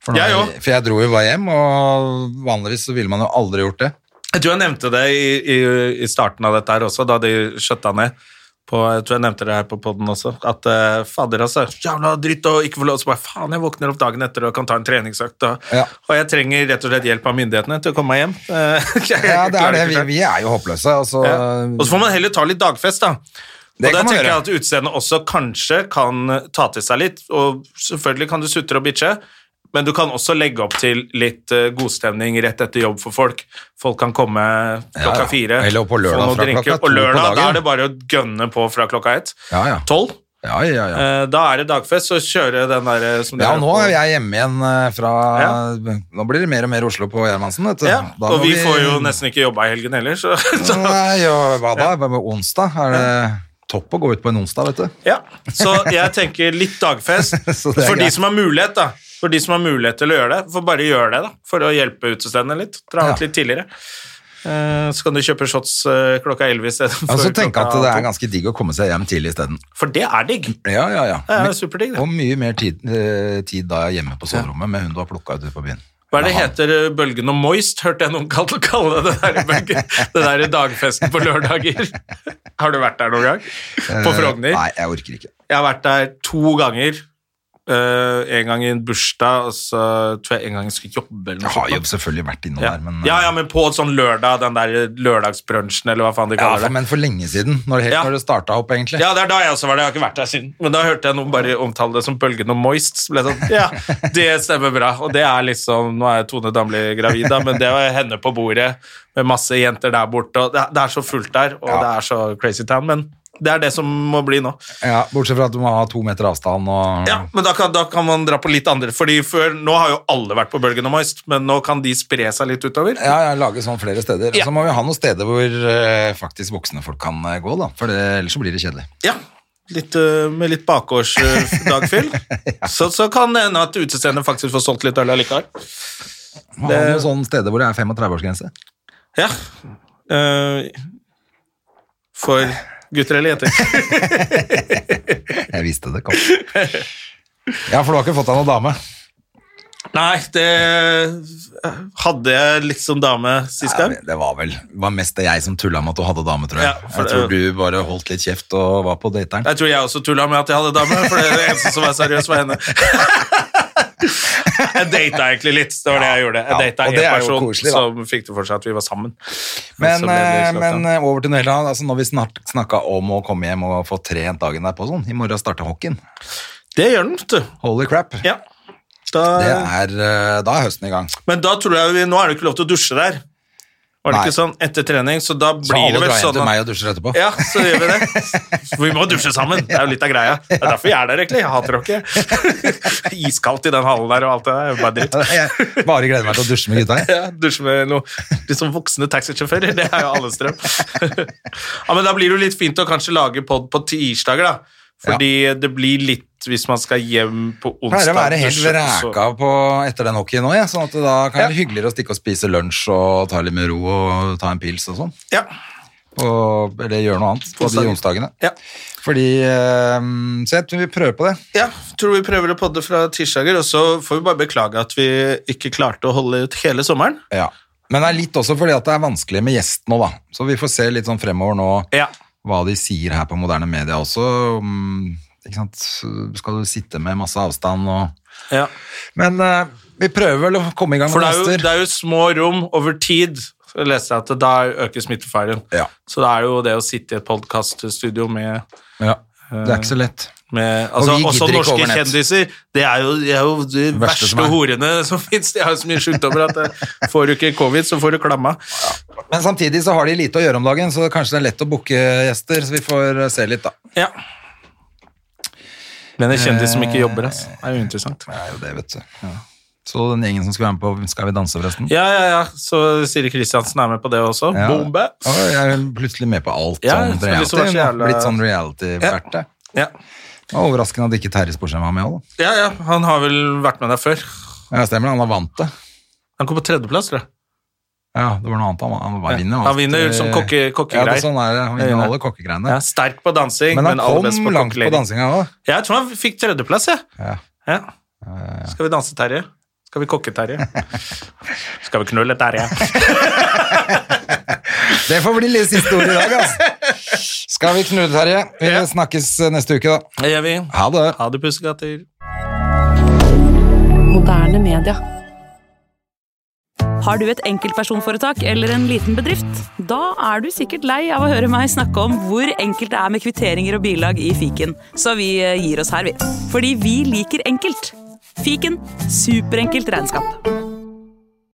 For, nå- Jeg òg. for jeg dro jo bare hjem, og vanligvis så ville man jo aldri gjort det. Jeg tror jeg nevnte det i, i, i starten av dette her også, da de skjøtta ned. På, jeg tror jeg nevnte det her på poden også, at eh, fader, altså. Jævla dritt å ikke få lov. Så bare faen, jeg våkner opp dagen etter og kan ta en treningsøkt. Og, Ja. og jeg trenger rett og slett hjelp av myndighetene til å komme meg hjem. Eh, jeg Ja, det klarer er det. ikke Vi, selv. vi er jo håpløse, og så Ja. Og så får man heller ta litt dagfest, da. Det og der kan man tenker jeg gjøre. at utseendet også kanskje kan eh, ta til seg litt, og selvfølgelig kan du sutre og bitche, men du kan også legge opp til litt eh, godstemning rett etter jobb for folk. Folk kan komme klokka ja. fire, Eller på lørdag få noen fra drinker, klokka to og på lørdag dagen. da er det bare å gønne på fra klokka ett. Ja, ja. Tolv. Ja, ja, ja. Eh, Da er det dagfest, så kjøre den der eh, som Ja, dere- nå er jeg hjemme igjen eh, fra Nå blir det mer og mer Oslo på Gjermansen, vet du. ja, Da og må vi får jo nesten ikke jobba i helgen heller, så, så Nei, og hva da? Hva med onsdag? Er det topp å gå ut på en onsdag, vet du? Ja, så jeg tenker litt dagfest Så det er for de greit. som har mulighet, da. For de som har mulighet til å gjøre det, får bare gjøre det, da. For å hjelpe utestedene litt. Dra ut Ja. litt tidligere. Eh, Så kan du kjøpe shots eh, klokka elleve istedenfor Og så tenke at det er to. ganske digg å komme seg hjem tidlig isteden. For det er digg. Ja, ja, ja. Det er Men- jo superdigg, det. Og mye mer tid, eh, tid da hjemme på soverommet med hun du har plukka ut ute på byen. Hva er det Ja, heter eh, bølgen og moist, hørte jeg noen kalle, kalle det der bølgen. Det der dagfesten på lørdager. Har du vært der noen gang? På eh, Frogner? Nei, jeg orker ikke. Jeg har vært der to ganger. Eh, en gang i en bursdag, og så tror jeg en gang jeg skulle jobbe. eller noe Jeg har sånt. jo selvfølgelig vært innom Ja. der, men eh, ja, ja, men på en sånn lørdag, den der lørdagsbrunsjen, eller hva faen de eh, ja, kaller for, det. men for lenge siden. Når det, helt Ja. når det starta opp, egentlig. Ja, det er da jeg også var der. Jeg har ikke vært der siden. Men da hørte jeg noen bare omtale det som bølgen og moist. Så ble jeg sånn, ja, det stemmer bra. Og det er liksom, nå er Tone Damli gravid, da, men det var henne på bordet med masse jenter der borte. Og det, det er så fullt der, og det er så crazy town, men det er det som må bli nå. Ja, bortsett fra at du må ha to meter avstand og Ja, men da kan, da kan man dra på litt andre, fordi før, nå har jo alle vært på bølgen og moist, men nå kan de spre seg litt utover. Ja, ja, lage sånn flere steder. Ja. Og så må vi ha noen steder hvor eh, faktisk voksne folk kan eh, gå, da. For det, ellers så blir det kjedelig. Ja, litt, øh, med litt bakgårdsdagfyll. så, så kan det hende at utestedet faktisk får solgt litt øl allikevel. Må ha noen sånne steder hvor det er 35-årsgrense. Ja. Eh, for gutter eller jenter. Jeg visste det kom. Ja, for du har ikke fått deg noen dame. Nei, det eh, hadde jeg litt som dame sist gang. det var vel det var mest det jeg som tulla med at du hadde dame, tror jeg. Ja, for jeg tror det- du bare holdt litt kjeft og var på dateren. Jeg tror jeg også tulla med at jeg hadde dame, for det eneste som var seriøs, var henne. Jeg data egentlig litt, det var det jeg gjorde. Jeg Ja, data og en det er jo person koselig, da. som fikk det for seg at vi var sammen. Men, så ble det eh, slått men av. eh, over til noe helt annet. Altså, når vi snart snakka om å komme hjem og få trent dagen derpå sånn, i morgen starter hockeyen. Det gjør den, vet du. Holy crap. Ja. Da- eh, Det er, eh, da er høsten i gang. Men da tror jeg vi, nå er det ikke lov til å dusje der. Var det Nei. ikke sånn etter trening? Så da Så blir alle det vel drar hjem sånn til at meg og dusjer etterpå. ja, så gjør vi det. For vi må dusje sammen. Det er jo litt av greia. Det er derfor jeg er der, egentlig. Jeg hater dere. Iskaldt i den hallen der og alt det der. Bare dritt. Jeg bare gleder meg til å dusje med gutta. jeg. Ja, dusje med noen litt sånn voksne taxisjåfører. Det er jo alles drøm. Ja, men da blir det jo litt fint å kanskje lage pod på tirsdager, da. Fordi det blir litt hvis man skal hjem på onsdag. Pleier å være helt dusje, så- ræka på etter den hockeyen òg, sånn at det da kan være hyggeligere å stikke og spise lunsj og ta litt med ro og ta en pils og sånn. Ja. Og- Eller gjøre noe annet på de Onsdager. onsdagene. ja. Fordi eh, Så jeg tror vi prøver på det. Ja, tror vi prøver å podde fra tirsdager, og så får vi bare beklage at vi ikke klarte å holde ut hele sommeren. Ja. Men det er litt også fordi at det er vanskelig med gjest nå, da. Så vi får se litt sånn fremover nå Ja. hva de sier her på moderne media også. om- Ikke sant? Skal du sitte med masse avstand og Men eh, vi prøver vel å komme i gang For med det er, jo, gjester. det er jo små rom over tid. Så leste jeg at da øker smittefaren. Ja. Så det er jo det å sitte i et podkaststudio med, Ja. Det er ikke så lett. med altså, vi Også gidder ikke norske over nett. kjendiser. Det er jo, det er jo de Verste verste som er. horene som fins. De har jo så mye sjukdommer at eh, får du ikke covid, så får du klamma. Men samtidig så har de lite å gjøre om dagen, så kanskje det er lett å booke gjester. Så vi får eh, se litt, da. Ja. Men en kjendis som ikke jobber, ass. Det Eh, er jo interessant. Det er jo det, vet du. Så den gjengen som skulle være med på Skal vi danse, forresten? Ja, ja, ja. Så Siri Kristiansen er med på det også. Ja. Bombe! Å, jeg er plutselig med på alt Ja, sånn jeg føler reality. det var så nå. jævla- Blitt sånn reality-verte. Ja. Det var Overraskende at ikke Terje Sporsem var med òg, da. ja, ja. Han har vel vært med der før. Ja, stemmer det. Han var vant det. Han kom på tredjeplass, tror jeg. Ja, det var noe annet. Han, var- han var- vinner Han vinner sånn kokke- kokkegreier. Ja, det er sånn er det. Han vinner alle kokkegreiene. Ja, sterk på dansing, men men, han aller best kom på langt på kokkelering. dansinga òg. Jeg tror han fikk tredjeplass, jeg. Ja. Ja. Skal vi danse, Terje? Skal vi kokke, Terje? Skal vi knulle, Terje? Det får bli litt siste ord i dag, altså. Skal vi knulle, Terje? Vi Ja. snakkes eh, neste uke, da. Det gjør vi. Ha det. Ha det, pussekatter. Moderne media. Har du et enkeltpersonforetak eller en liten bedrift? Da er du sikkert lei av å høre meg snakke om hvor enkelt det er med kvitteringer og bilag i fiken, så vi eh, gir oss her, vi. Fordi vi liker enkelt. Fiken superenkelt regnskap.